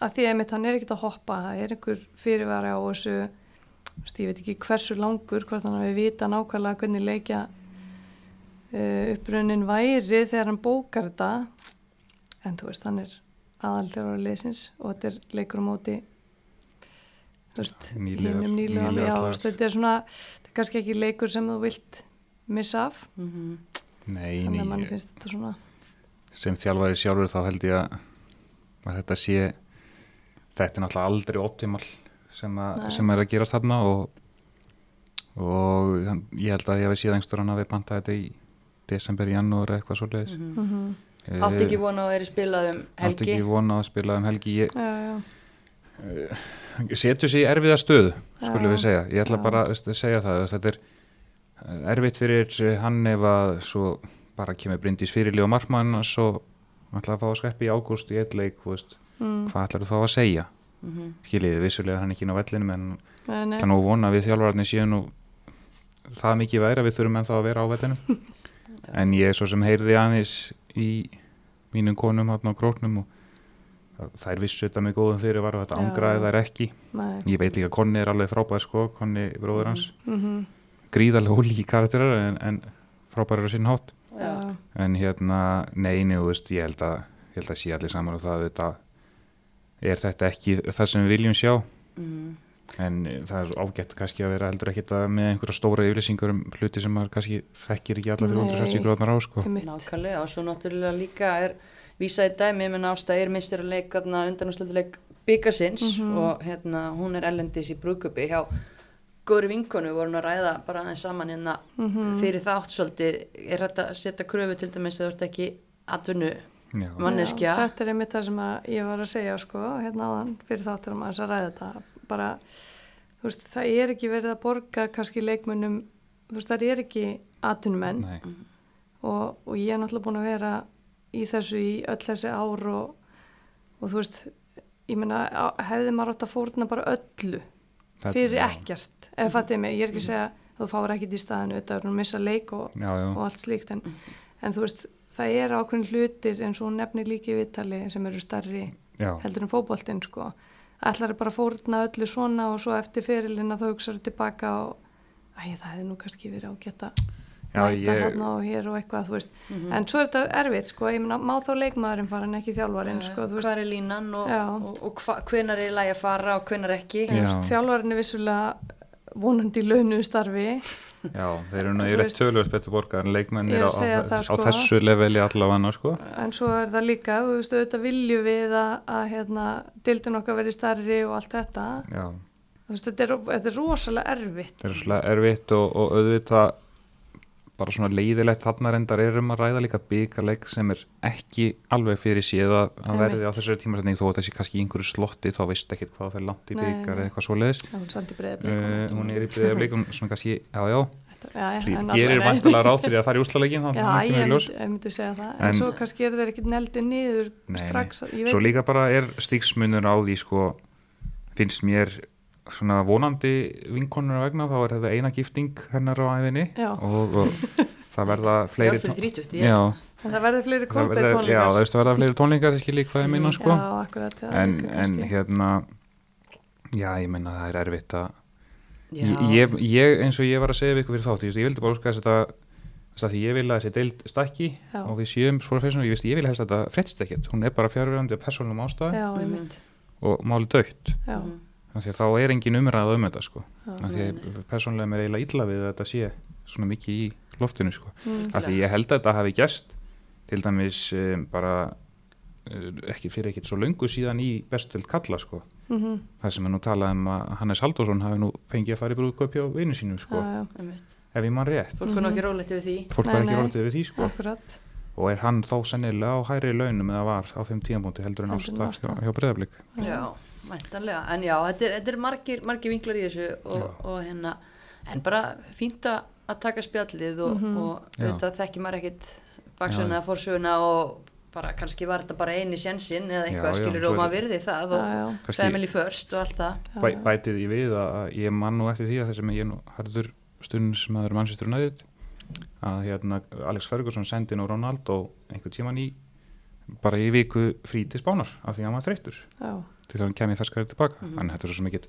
S2: að því að einmitt hann er ekkert að hoppa, það er einhver fyrirvara á þessu, þú veist, ég veit ekki hversu langur, hvort hann hafi vita nákvæmlega hvernig leikja uh, upprunnin væri þegar hann bókar þetta, en þú veist, hann er aðalþjórar leysins og þetta er leikur á móti, þú veist,
S3: Nýliðar-
S2: hinum nýliðan, já,
S3: nýliðarslagur.
S2: þú veist, þetta er svona, þetta er kannski ekki leikur sem þú vilt missa af,
S1: Mm
S3: Nei,
S2: þannig
S3: nei,
S2: að mann finnst þetta svona...
S3: sem þjálfari sjálfur þá held ég að, að þetta sé þetta er náttúrulega aldrei optimal sem, að,
S2: Nei.
S3: sem er að gerast þarna og, og hann- ég held að ég hef síðan einhverstur hann hafi bantað þetta í desember, janúar eða eitthvað svoleiðis mm
S1: -hmm. Átti ekki von á að eru spilað um
S3: átti
S1: helgi
S3: ekki von á að spila um helgi ég,
S2: já, já.
S3: setur sig í erfiða stöðu
S2: Já.
S3: skulum við segja, ég ætla
S2: Já.
S3: bara að segja það að þetta er eh, erfitt fyrir eh, hann ef að svo bara kemur Bryndís fyrirlið og markmann og svo ætla að fá að skreppi í ágúst í eitt leik, þú veist,
S2: Mm.
S3: hvað ætlar þú þá að segja
S1: mm -hmm.
S3: skiljiði, vissulega er hann ekki inn á vellinu en
S2: Nei, nei.
S3: það nú vona að við þjálfararnir séu nú það mikið væri að við þurfum ennþá að vera á vellinu en ég svo sem heyrði aðeins í mínum konum hann á króknum og þær vissu þetta með góðum fyrir var og þetta
S2: Já.
S3: angraði þær ekki
S2: Nei.
S3: ég veit líka að Konni er alveg frábær sko Konni bróður hans,
S2: Mhm.
S3: gríðarlega ólíki karakterar en, en frábærar á sinn hátt
S1: Já.
S2: Já.
S3: en hérna, neini, þú veist, ég held að ég held að sé allir saman og það þetta, er þetta ekki það sem við viljum sjá
S1: Mm.
S3: en eh, það er svo ágætt kannski að vera heldur ekkit að með einhverja stóra yfirlýsingur um hluti sem maður kannski þekkir ekki alla
S2: Nei.
S3: 360 gróðnar á sko
S2: Einmitt.
S1: um Nákvæmlega og svo náttúrulega líka er vísað í dæmi, ég menn ástæðir mistur að leik þarna undanúsleituleik byggasins
S2: Mhm.
S1: og hérna hún er ellendis í brúkupi hjá góri vinkonu vorum að ræða bara aðeins saman hérna
S2: Mhm.
S1: fyrir þátt svolítið er þetta að setja kröfu til dæmis að þú ert ekki atvinnu
S3: Já.
S1: manneskja
S2: Já, þetta er einmitt það sem að ég var að segja sko, hérna áðan, fyrir þátturum að þess að ræða þetta bara, þú veist, það er ekki verið að borga kannski leikmunum þú veist, það er ekki atvinnumenn
S3: Nei,
S2: og, og ég er náttúrulega búin að vera í þessu í öll þessi ár og, og þú veist ég meina, á- hefði maður átt að fórna bara öllu
S3: Þetta-
S2: fyrir
S3: já.
S2: ekkert, ef fattu ég mig, ég er ekki að segja að þú fáir ekkert í staðinu, þetta er að missa leik og,
S3: já, já,
S2: og allt slíkt
S1: Mhm.
S2: en, en þú veist, það er ákveðin hlutir eins og hún nefnir líki viðtali sem eru starri
S3: já,
S2: heldur en fótboltinn sko ætlar bara að fórna öllu svona og svo eftir fyrirlinna þá hugsaðu tilbaka og æ, það hefði nú kannski verið ágætt að
S3: Já,
S2: mæta
S3: ég-
S2: hérna og hér og eitthvað, þú veist
S1: Mhm.
S2: en svo er þetta erfitt sko, ég meina, má þá leikmaðurinn fara en ekki þjálfarinn sko, þú veist,
S1: hvað er línan og,
S2: Já.
S1: og, og hva, hvenar er lægi að fara og hvenar ekki
S3: Já.
S2: þjálfarinn er vissulega vonandi í launu starfi
S3: já, þeir eru
S2: Þú
S3: náttúrulega rétt
S2: veist-
S3: tölvöld betur borgar en
S2: Ég
S3: leikmennir
S2: er
S3: á,
S2: að segja
S3: á,
S2: það,
S3: á
S2: sko.
S3: þessu leveli allavega sko.
S2: en svo er það líka, þú veist, auðvitað viljum við að, að hérna, dildin okkar verið starri og allt þetta
S3: já,
S2: þú veist, þetta er, þetta er rosalega erfitt
S3: þeir eru svona erfitt og, og auðvitað bara svona leiðilegt þarna reyndar er um að ræða líka byggarleik sem er ekki alveg fyrir síð að að
S2: Einmitt.
S3: verði á þessari tímasetning þó að þessi kannski í einhverju slotti þá veist ekki hvað fyrir langt í
S2: Nei,
S3: byggar
S2: nei.
S3: eða eitthvað svoleiðis
S2: Já, hún sandi
S3: Uh,
S2: breyðablík
S3: hún er í byggðarleikum svona kannski, já já,
S2: uh,
S3: gerir vantilega ráð fyrir að fara í úslaleikin þannig
S2: Já,
S3: að það
S2: ég
S3: er í ljós
S2: myndi, ég myndi segja það, en,
S3: En-
S2: svo kannski eru þeir ekkert neldi niður
S3: Nei, nei.
S2: strax, ég
S3: svo
S2: veit,
S3: líka bara er stíksmunur á því sko, finnst mér svona vonandi vinkonur vegna þá er þetta eina gifting hennar á æfinni
S2: Já.
S3: og, og það verða fleiri
S1: Já, fyrir þrítugt, ég-
S3: já,
S2: en það verður fleiri
S3: það
S2: kolbeir
S3: verða, já, það
S2: tónleikar. Mm,
S3: veist, það verða fleiri tónlingar ekki líka hvað ég minna sko
S2: já, akkurat, já,
S3: en,
S2: líka
S3: en
S2: kannski.
S3: hérna já, ég minna það er erfitt að
S1: Já.
S3: Ég- ég, ég, eins og ég var að segja við ykkur fyrir þátt ég, veist, ég vildi bara óska þess að þetta þess að því ég vil að þessi deild stakki
S2: Já.
S3: og við séum spórafessunum, ég veist ég vil helst að þetta fréttst ekkert, hún er bara fjárverandi af persónum ástæði
S1: Mhm.
S2: Já, ég
S3: og máli dögt
S2: já,
S3: þannig að þá er engin umræða um þetta sko.
S2: Já,
S3: þannig að persónlega mér eiginlega illa við að þetta sé svona mikið í loftinu sko.
S2: Mm.
S3: af því ég held að þetta hafi gerst til dæmis um, bara uh, ekki fyrir ekkert svo löngu síðan í bestöld kalla sko.
S2: mm -hmm,
S3: það sem er nú talað um að Hannes Halldórsson hafi nú fengið að fara í brúðkaupi á vinnu sínum sko,
S2: já,
S1: Einmitt.
S3: ef ég mann rétt
S1: fólk var
S2: Mhm.
S1: nú ekki rólegt yfir því
S3: fólk
S2: Nei,
S3: var ekki
S2: nei.
S3: orðið við því
S2: já,
S3: sko.
S2: akkurat,
S3: og er hann þá sennilega á hæri launum eða var á þeim tíðanbúndi heldur en
S2: Heldur en
S3: ásta
S2: Ásta.
S3: hjá, hjá breyðablík
S1: Já, mæntanlega, en já, þetta er, þetta er margir, margir vinklar í þessu og,
S3: Já.
S1: og hérna, en bara fínt að að taka spjallið og, og
S3: Mhm. Já.
S1: þetta þekki maður ekkit
S3: Já,
S1: baksuna,
S3: já.
S1: forsuna og bara kannski var þetta bara eini sjensinn eða eitthvað
S3: Já, já,
S1: skilur
S3: svo
S1: og
S3: er-
S1: maður virði það og
S2: Já, já.
S3: Kannski-
S1: family first og allt það.
S2: Já,
S3: Bæ,
S2: já.
S3: bætið í við að að ég mann nú eftir því að þessum ég er nú harður stundin sem aður mannsýttur næðið að hérna Alex Ferguson sendi nú Ronaldo einhver tíman í bara í viku frí til spánar af því að hann var þreyttur
S2: já,
S3: til þannig kemur ferskari tilbaka mm -hmm. en þetta er svo mikið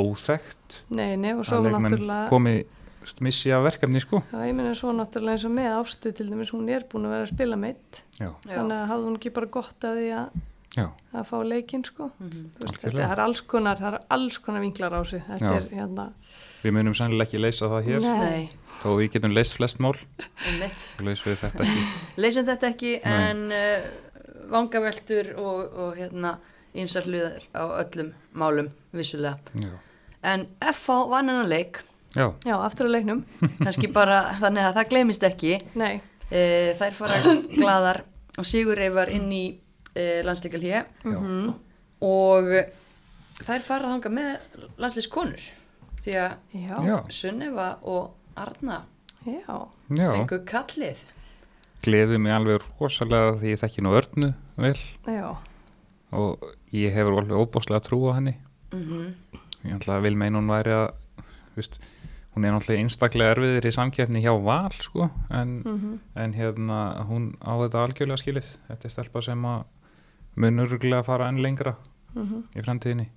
S3: óþekkt
S2: nei, nei, Mhm. og svo
S3: að leikmenn
S2: náttúrulega,
S3: komi st- missi af verkefni sko
S2: já, ég meina svo náttúrulega eins og með ástu til dæmis, hún er búin að vera að spila mitt,
S3: já,
S1: Já.
S2: þannig að hafði hún ekki bara gott af því að
S3: já,
S2: að fá leikinn sko
S1: Mhm.
S2: Þú veist, þetta
S3: Algjörlega.
S2: það er alls konar, það er alls konar vinklar á sig, þetta
S3: Já.
S2: er hérna
S3: við munum sennilega ekki leysa það hér
S2: Nei.
S1: Nei,
S3: þó við getum leyst flest mál
S1: einmitt.
S3: leysum við þetta ekki
S1: Leysum þetta ekki
S3: Nei.
S1: en uh, vangaveltur og, og hérna ýmsar hluðar á öllum málum vissulega.
S3: já,
S1: En FH vann hennar leik,
S3: já,
S2: Já, aftur á leiknum,
S1: kannski bara þannig að það glemist ekki.
S2: nei
S1: e, þær fara gladar og sigur reyfar inn í e, landsleikal hér
S3: já.
S2: Mhm.
S1: og þær fara þanga með landsleiskonur því að
S2: Já,
S3: Já.
S2: já,
S1: Sunnefa og Arna
S3: já.
S1: fengu kallið
S3: gleði mig alveg rosalega því ég þekki nú örnu vel
S2: já,
S3: og ég hefur alveg óbáslega trú á henni
S1: Mhm.
S3: ég ætla að vil meina hún væri að viðst, hún er náttúrulega einstaklega erfiðir í samkeppni hjá val sko, en, en hérna hún á þetta algjörlega skilið þetta er stelpa sem að mun örgulega fara enn lengra í framtíðinni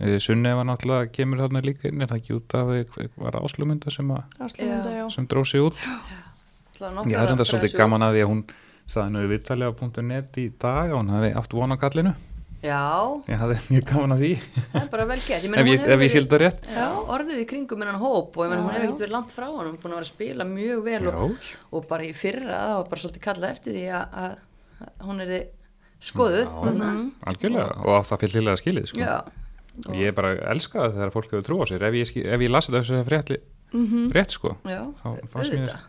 S3: Eh, Sunnefa náttúrulega kemur þarna líka inn er það ekki út af því var áslumunda sem, að-
S2: áslumunda, já,
S3: sem dró sig út Já, það er þetta svolítið gaman að því að hún saði nú í vittalega.net í dag að hún hafi átt von á kallinu
S1: já,
S3: ég hafði mjög gaman að því
S1: það er bara vel gett meina,
S3: ef
S1: hún
S3: ég,
S1: hefur
S3: ef ég
S1: verið-
S3: skildi það rétt
S1: Já, orðið í kringum innan hóp og ég meina,
S2: Já,
S1: hún hefur
S2: já.
S1: ekkert verið langt frá hann hún er búin að vera að spila mjög vel og,
S3: Já.
S1: og bara í fyrra það var bara svolítið kallað eftir því að, að- að hún er skoðuð
S3: Já.
S1: þarna.
S3: algjörlega og átt það fyllilega skilið sko.
S1: Já,
S3: og ég bara elska það þegar fólk hefur trú á sér ef ég, skil- ef ég lasi þessu frétt, rétt sko
S1: já,
S3: þá fannst mér
S1: Mhm. auðvitað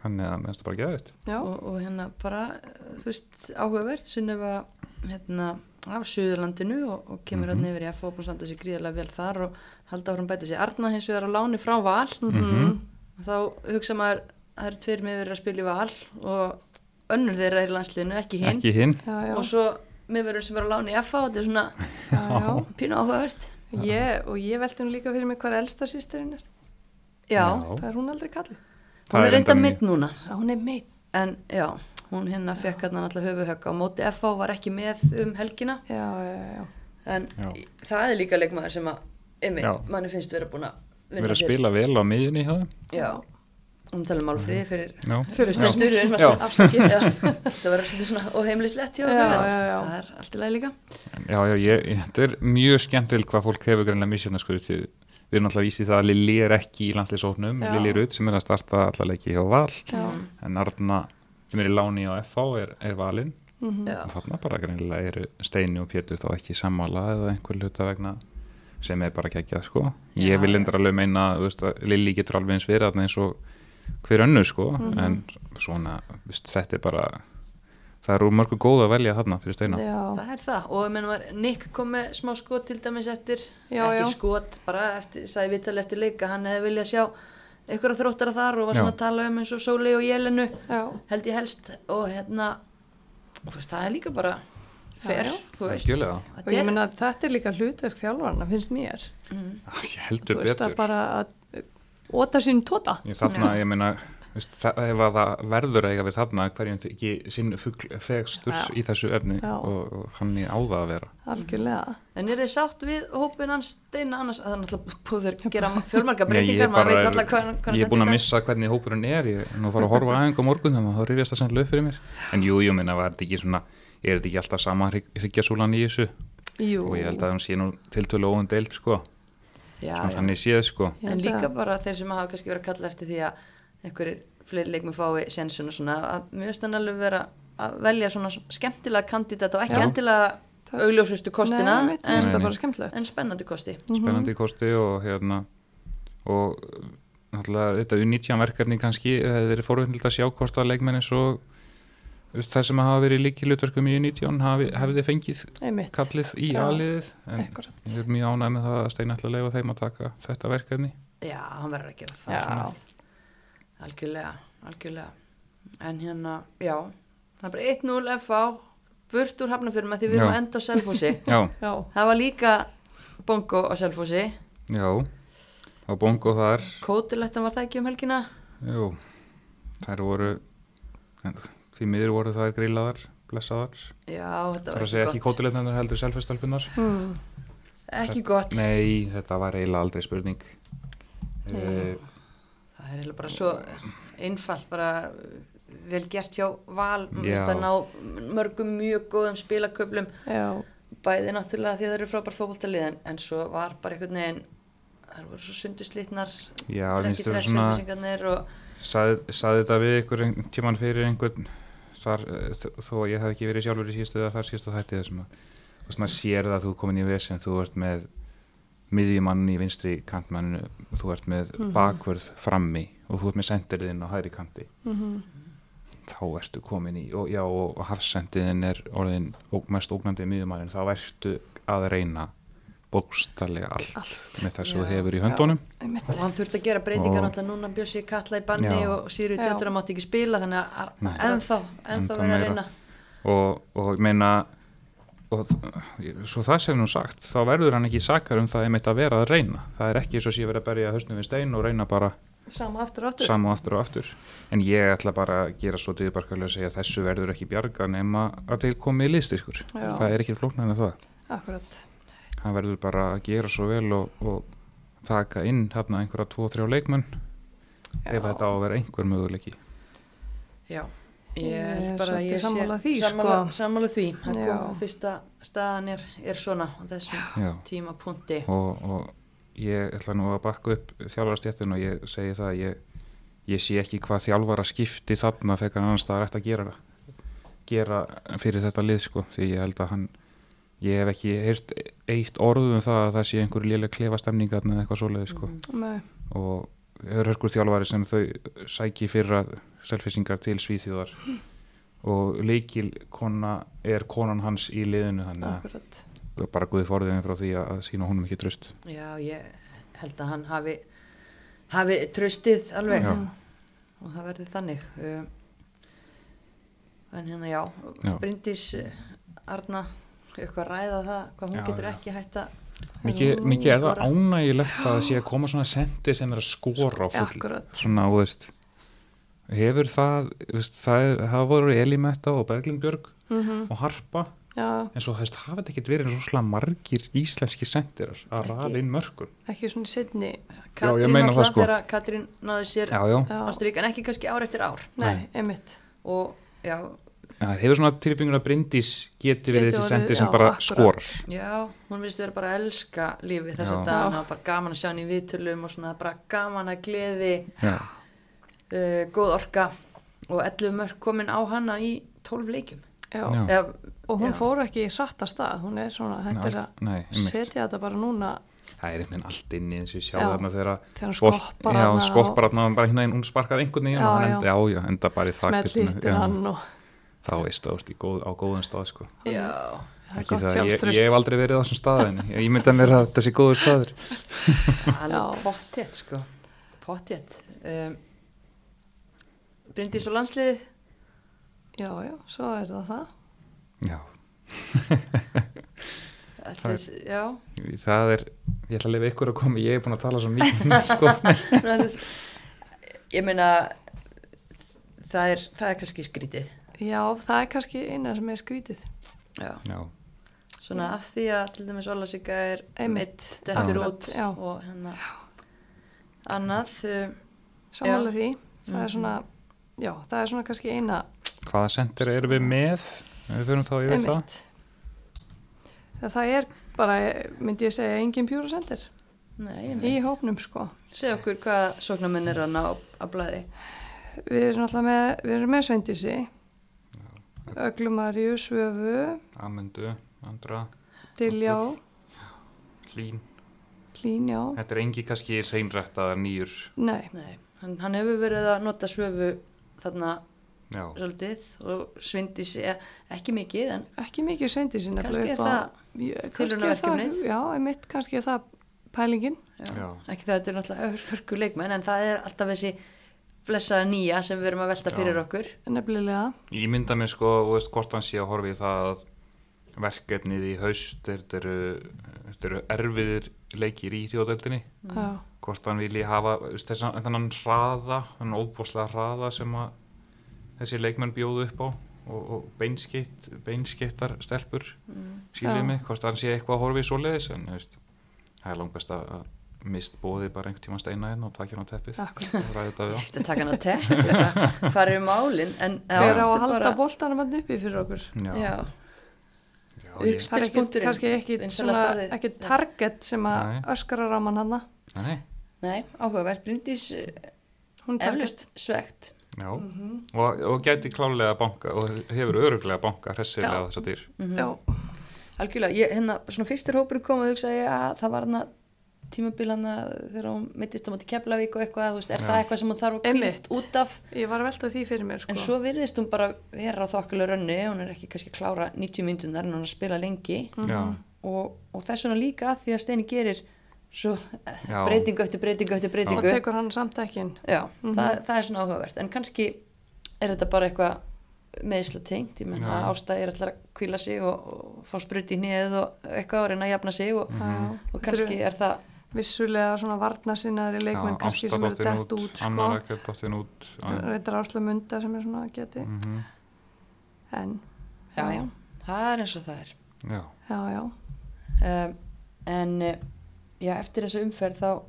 S3: þannig að mér finnst það bara geða þetta
S2: Já.
S1: og, og hérna bara, þú veist, áhugavert Sunnefa hérna, af Suðurlandinu og, og kemur mm -hmm. hann
S3: Mhm.
S1: yfir í FH og búin að standa sér gríðarlega vel þar og halda áfram að bæta sér Arna hins vegar á láni frá val
S3: Mhm.
S1: þá hugsa maður það eru tveir með verið að spila í val og önnur þeirra er í landsliðinu, ekki hinn
S3: ekki hinn
S2: Já, já,
S1: og svo með verið sem er á láni í FH þetta er svona
S2: já, já.
S1: pínu áhugavert
S2: Ég, og ég veldi hún líka fyrir mig hvað elsta sýsturinn er.
S1: Já,
S2: Það er hún aldrei kallið.
S1: hún
S3: Það
S1: er reynda
S3: mjög-
S1: mitt núna
S2: Já, hún er meitt.
S1: en já, hún hérna fekk hérna alltaf höfuhögg á móti FH var ekki með um helgina
S2: Já, já, já, já.
S1: en
S3: Já.
S1: í- það er líka leikmaður sem að
S3: Já.
S1: einmitt, manni finnst vera búin að
S3: við
S1: vinna
S3: erum að spila vel á miðjunni hjá þeim
S1: já, hún talar um málfríði fyrir
S3: Mhm. Já.
S1: fyrir
S2: Já.
S1: stundur en
S3: Já.
S1: alltaf afsakið Já. það var svolítið svona óheimlislegt hjá
S2: Já,
S1: okkur, en
S2: já, já.
S1: það er allt í lagi líka
S3: já, já, ég, þetta er mjög skemmtilegt hvað fólk hefur greinlega misjöfna sko, við, við erum alltaf vísið það að Lili er ekki í landlisóknum,
S2: Já.
S3: Lili Rut sem er að starta alltaf leiki hjá Val
S2: Já.
S3: en Arna sem er í láni á FH er, er Valin
S2: Mhm.
S1: já,
S3: og þarna bara greinlega eru Steini og Pétur þá ekki sammála eða einhver hluta vegna sem er bara geggjað sko ég
S1: Já,
S3: vil
S1: já.
S3: endur alveg meina þú veist, að Lili getur alveg eins verið þarna eins og hver önnu sko
S1: Mhm.
S3: en svona, þú veist, þetta er bara það eru mörgu góð að velja þarna fyrir Steina
S2: Já,
S1: það er það og ég meina var Nick kom með smá skot til dæmis eftir
S2: Já,
S1: ekki
S2: já.
S1: skot, bara eftir, sagði Vitali eftir leika hann hefði viljað sjá einhverja þróttara þar og var
S3: Já.
S1: svona að tala um eins og Sóli og Jelenu
S2: já.
S1: held ég helst og hérna þú veist það er líka bara fer,
S2: Já, já.
S1: þú veist
S3: Algjörlega.
S2: Og
S1: Þetta
S2: ég
S1: er, Mhm.
S2: meina, þetta er líka hlutverk þjálfarna, finnst mér.
S3: Ah, Ég
S2: Þú
S3: heldur
S2: veist,
S3: betur.
S2: að bara að óta sín tota. tóta.
S3: Ég þarna, ég meina, veist, það, ef að það verður að eiga við þarna hverjum ekki sinn fugl fegstur
S2: Já.
S3: í þessu efni
S2: Já.
S3: og, og hann í áða að vera.
S2: Algjörlega.
S1: en er þið sátt við hópin hans steina annars að það er náttúrulega búður gera ma- fjölmarga
S3: Nei, ég
S1: breytingar, maður
S3: bara
S1: veit
S3: er-
S1: alltaf hvað, hvað
S3: Ég er búin að missa hvernig hópurinn er, ég er nú að fara að horfa aðeins á morgun þannig að þá rifjast það sennilega upp fyrir mér. En jú, jú, minna, var þetta ekki svona, er þetta ekki alltaf sama hryggjasúlan í þessu?
S2: Jú.
S3: Og ég held að hann sé nú tiltölu óund deild, sko.
S1: já,
S3: Svona
S1: já.
S3: Þannig séð, sko.
S1: en
S2: Ég held
S1: líka
S2: að-
S1: bara þeir sem hafa kannski verið að kalla eftir því að einhverjir fleiri leikmi fái sensun og svona að mjög stannarlega vera að velja svona skemmtilega kandidata og ekki
S3: Já.
S1: endilega augljósustu kostina
S2: Nei, mitt finnst
S1: en,
S2: það
S3: Nei,
S2: bara
S3: nei.
S2: skemmtilegt.
S1: en spennandi kosti
S3: spennandi kosti og hérna og uh, náttúrulega þetta U19 verkefni kannski eh, það hefur verið forvindilegt að sjá hvort að leikmenni svo það sem hafa verið líki hlutverkum í U19 hafi, hefði fengið
S2: Einmitt.
S3: kallið í
S2: Já.
S3: aðliðið en
S2: Akkurat.
S3: ég er mjög ánægð með það að Steina ætla að leifa þeim að taka þetta verkefni
S1: já, hann verður að gera það
S2: Já.
S1: Algjörlega, algjörlega. En hérna, já, það er bara 1-0 FA, burt úr hafnafjörnum að því við erum
S3: Já.
S1: að enda á Selfossi.
S3: Já,
S2: Já.
S1: það var líka bongo á Selfossi,
S3: já og bongo þar
S1: kótilegtan var það ekki um helgina.
S3: jú, þær voru en því miður voru þær grillaðar blessaðar,
S1: Já, þetta
S3: það
S1: var
S3: er að segja
S1: ekki
S3: ekki
S1: gott.
S3: kótulegnar heldur selfestalpunar
S2: Mm.
S1: Ekki gott.
S3: Nei, þetta var eiginlega aldrei spurning uh,
S1: Það er eiginlega bara svo einfalt, bara uh, vel gert hjá val,
S3: Já.
S1: mest að ná mörgum mjög góðum spilaköflum,
S2: Já.
S1: bæði náttúrulega því að það eru frábært fókbaltalið, en, en svo var bara einhvern veginn, það voru svo sunduslítnar,
S3: Já,
S1: drekki
S3: minnst þú
S1: drekk
S3: svona
S1: selfisingarnir og...
S3: sagði, sagði þetta við ykkur einhvern tíman fyrir einhvern þar, eh, þó- þó að ég hef ekki verið sjálfur í síðustu eða þar síðustu þætti þessum að og svona sér það að þú er komin í vesen þú ert með miðjumann í vinstri kantmannu, þú ert með bakvörð frammi og þú ert með sendirðinn á hægri kanti þá ertu komin í og, já, og hafsendiðin er orðin óg, mest ógnandi miðjumannin, þá ertu að reyna bókstallega allt, með það sem þú
S1: Já.
S3: hefur í höndunum
S2: Einmitt.
S1: og hann þurfti að gera breytingar
S3: Og-
S1: náttúrulega núna bjössi kalla í banni
S3: Já.
S1: og síru
S2: Já.
S1: tjátur að mátti ekki spila þannig að
S3: Nei.
S1: ennþá, ennþá verið að
S3: meira.
S1: reyna
S3: og, og ég meina og þ- svo það sem nú sagt þá verður hann ekki sakar um það einmitt að vera að reyna það er ekki eins og sé verið að berja höstnum við stein og reyna bara
S2: Sama aftur og aftur.
S3: sam og aftur og aftur en ég ætla bara að gera svo dyðbarkarlega að segja að þessu verður ekki bjarga nema að þeir komi í liðstyrkur
S2: Já.
S3: það er ekki flóknar en það
S2: Akkurat.
S3: hann verður bara að gera svo vel og, og taka inn hérna einhverja 2-3 leikmenn ef þetta á að vera einhver möguleiki
S1: já,
S2: Ég
S1: ég
S2: er
S1: held bara að
S2: svolítið
S1: ég sé
S2: sammála því,
S1: sammála,
S2: sko.
S1: sammála því hann
S2: Já.
S1: kom á fyrsta staðan er, er svona á þessum
S3: já
S1: tímapunkti
S3: og, og ég ætla nú að bakka upp þjálfarastjættin og ég segi það að ég, ég sé ekki hvað þjálfara skipti þarna þegar annars það er eftir að gera það gera fyrir þetta lið sko því ég held að hann ég hef ekki heyrt eitt orð um það að það sé einhver léleg klefa stemningarna eða eitthvað svoleiði sko
S2: Nei.
S3: og hörkur þjálfari sem þau sæki fyrir að selfisingar til svíþjóðar og leikil kona er konan hans í liðinu þannig
S2: Akkurat.
S3: að bara guði forðinu frá því að sína honum ekki tröst
S1: Já, ég held að hann hafi, hafi tröstið alveg
S3: Já.
S1: og það verði þannig. Um, En hérna já,
S3: Já.
S1: Bryndís eh, Arna, eitthvað að ræða það, hvað hún
S3: Já,
S1: getur
S3: já.
S1: ekki hætt að,
S3: mikið, mikið er það ánægilegt að það sé að koma svona sendi sem er að skora á full
S2: Akkurat.
S3: svona, þú veist hefur það, þú veist, það, er- það voru Elimetta og Berglindbjörg
S2: Mhm.
S3: og Harpa,
S2: Já,
S3: en svo þú veist, hafa þetta ekkert verið eins og svona margir íslenski sendirar að
S1: Ekki.
S3: raða inn mörgum
S2: ekki svona setni.
S3: Já, ég
S1: Katrín
S3: meina það,
S1: alltaf
S3: sko.
S1: þegar Katrín náði sér
S3: já, já,
S2: Já.
S1: á strík, en ekki kannski ár eftir ár.
S2: Nei, einmitt.
S1: Og já,
S3: það hefur svona tilbyggjum að Bryndís geti verið
S2: Geti
S3: þessi
S2: orðið,
S3: sendir sem
S2: já,
S3: bara
S2: akkurat.
S3: skorar
S1: já, hún virðist vera bara að elska lífið þess
S3: Já.
S1: að dagana,
S2: Já.
S1: það var bara gaman að sjá hann í viðtölum og svona bara gaman að gleði.
S3: já,
S1: uh, góð orka og 11 mörg komin á hana í 12 leikjum
S2: Já.
S3: Já.
S1: Eða,
S2: Og hún
S1: Já.
S2: fór ekki í satta stað, hún er svona, þetta er að
S3: nei, einmitt.
S2: setja þetta bara núna
S3: það er einhvern veginn allt inni eins og við sjá
S2: Já.
S3: þarna þegar að
S2: Þegar hún
S3: bolt-
S2: skoppar
S3: já,
S2: hana
S3: hún
S2: og-
S3: skoppar hana og bara hérna hún sparkar einhvern veginn
S2: Já,
S3: og hann
S2: já.
S3: enda, já, já, enda bara í
S2: smelt
S3: þakbitinu.
S2: lítur
S3: Já,
S2: hann og
S3: þá veist það, þú veist, í góð, á góðum stað sko.
S1: já,
S2: það er
S3: Ekki
S2: gott
S3: það, ég,
S2: sjálfströst.
S3: ég hef aldrei verið á þessum staðinu ég mynda mér að þessi góðu staður
S1: alveg pottjett sko pottjett um, Bryndís og landslið
S2: Já, já, svo er það það.
S3: já,
S1: þess, já,
S3: það er ég ætla að lifa ykkur að koma, ég hef búin að tala svo mikið um sko.
S1: þess, ég meina það er, það er kannski skrítið
S2: Já, það er kannski eina sem er skrítið.
S1: já.
S3: já,
S1: svona af því að til dæmis Ólasika er
S2: Einmitt.
S1: mitt dettur
S2: Akkurat,
S1: út
S2: já.
S1: og hérna annað um,
S2: Samanlega því,
S1: Mhm.
S2: það er svona, já, það er svona kannski eina
S3: hvaða sendir erum við með Ef við fyrir þá yfir það
S2: einmitt. Það, það er bara, myndi ég segja, engin pjúrasendir
S1: nei, ég
S2: í
S1: meina
S2: hópnum, sko.
S1: segja okkur hvað sóknarmenn er að ná að blæði
S2: Við erum alltaf með, við erum með Sveindísi, Öglumarju, Svöfu,
S3: Amendu, Andra,
S2: Diljá,
S3: Hlín
S2: Klínjá,
S3: þetta er engi kannski seinrættaðar nýjur
S2: nei,
S1: Nei, hann, hann hefur verið að nota svöfu þarna
S3: já,
S1: svolítið og svindi sig ekki mikið en
S2: ekki mikið Sveindísi
S1: Kannski er það tilraunaverkefnið.
S2: Já, einmitt, kannski er það pælingin,
S3: já,
S1: ekki það að þetta er náttúrulega hör- hörku leikmenn en það er alltaf þessi blessaða nýja sem við erum að velta
S3: Já.
S1: fyrir okkur
S2: nefnilega,
S3: ég mynda mér sko og veist hvort hann sé að horfi það að verkefnið í haust þetta eru, þetta eru erfiðir leikir í þjóðöldinni
S1: Mm.
S2: já,
S3: hvort hann vilji hafa veist, þessan, þennan hraða, þennan óbúslega hraða sem að þessi leikmenn bjóðu upp á og, og beinskitt, beinskittar stelpur mm.
S2: Já.
S3: sílið mig, hvort hann sé eitthvað að horfa í svoleiðis en þú veist, það er langbest að, að mist bóði bara einhvern tíma steina einn og taka hann á teppið
S2: akkurat.
S3: og ræða þetta við hann.
S1: ekkert að taka hann að tepp hvað eru málin en já,
S2: Hver á
S1: þetta
S2: að
S1: er
S2: halda
S1: bara-
S2: boltanum hann uppi fyrir okkur?
S3: Já,
S1: já,
S3: já,
S1: uppspil-
S3: ég,
S2: Það er ekki,
S1: Spilspunkturinn,
S2: kannski ekki,
S1: vinsælasta
S2: svona,
S1: orðið.
S2: ekki
S1: Já.
S2: target sem að
S3: Nei.
S2: öskrar á mann hanna.
S3: Nei, nei,
S1: nei, áhugavert Bryndís eh,
S2: Hún er target.
S1: eflaust svegt
S3: já,
S2: Mhm.
S3: og, og gæti klálega banka og hefur öruglega banka hressilega
S2: Já.
S3: þess að dýr
S1: Mhm.
S2: Já,
S1: algjörlega, ég, hérna, svona fyrstir hópur kom að hugsa ég að það var hana tímabilana þegar hún mittist á móti Keflavík og eitthvað, þú veist, er
S3: Já.
S1: það eitthvað sem hún þarf að
S2: Einmitt.
S1: kvílt út af
S2: ég var að velta því fyrir mér, sko.
S1: En svo virðist hún bara vera á þokkulega rönni, hún er ekki kannski klára 90 myndunar en hún er að spila lengi
S2: Mhm.
S3: Já,
S1: og, og þess vegna líka að því að Steini gerir svo
S3: Já.
S1: breytingu eftir breytingu eftir
S2: og
S1: breytingu. Já,
S2: tekur Mhm. hann samtækin.
S1: það, það er svona áhugavert en kannski er þetta bara eitthvað meðsla tengt, ég menna
S3: Já.
S1: að ástæði er alltaf að kvíla sig og, og fá spruti í nýðið og eitthvað að reyna að jafna sig
S3: Mhm.
S1: og, og kannski er það
S2: Vissulega svona varnasinnaðri leikmenn kannski sem eru
S3: Ásta
S2: dett út, sko.
S3: Anna Rakel dottin út já.
S2: Reyndar Ásla Munda sem er svona geti.
S3: Mhm.
S2: En,
S1: já, já, það er eins og það er
S3: já,
S2: já, já.
S1: um, en eh, já, eftir þessu umferð þá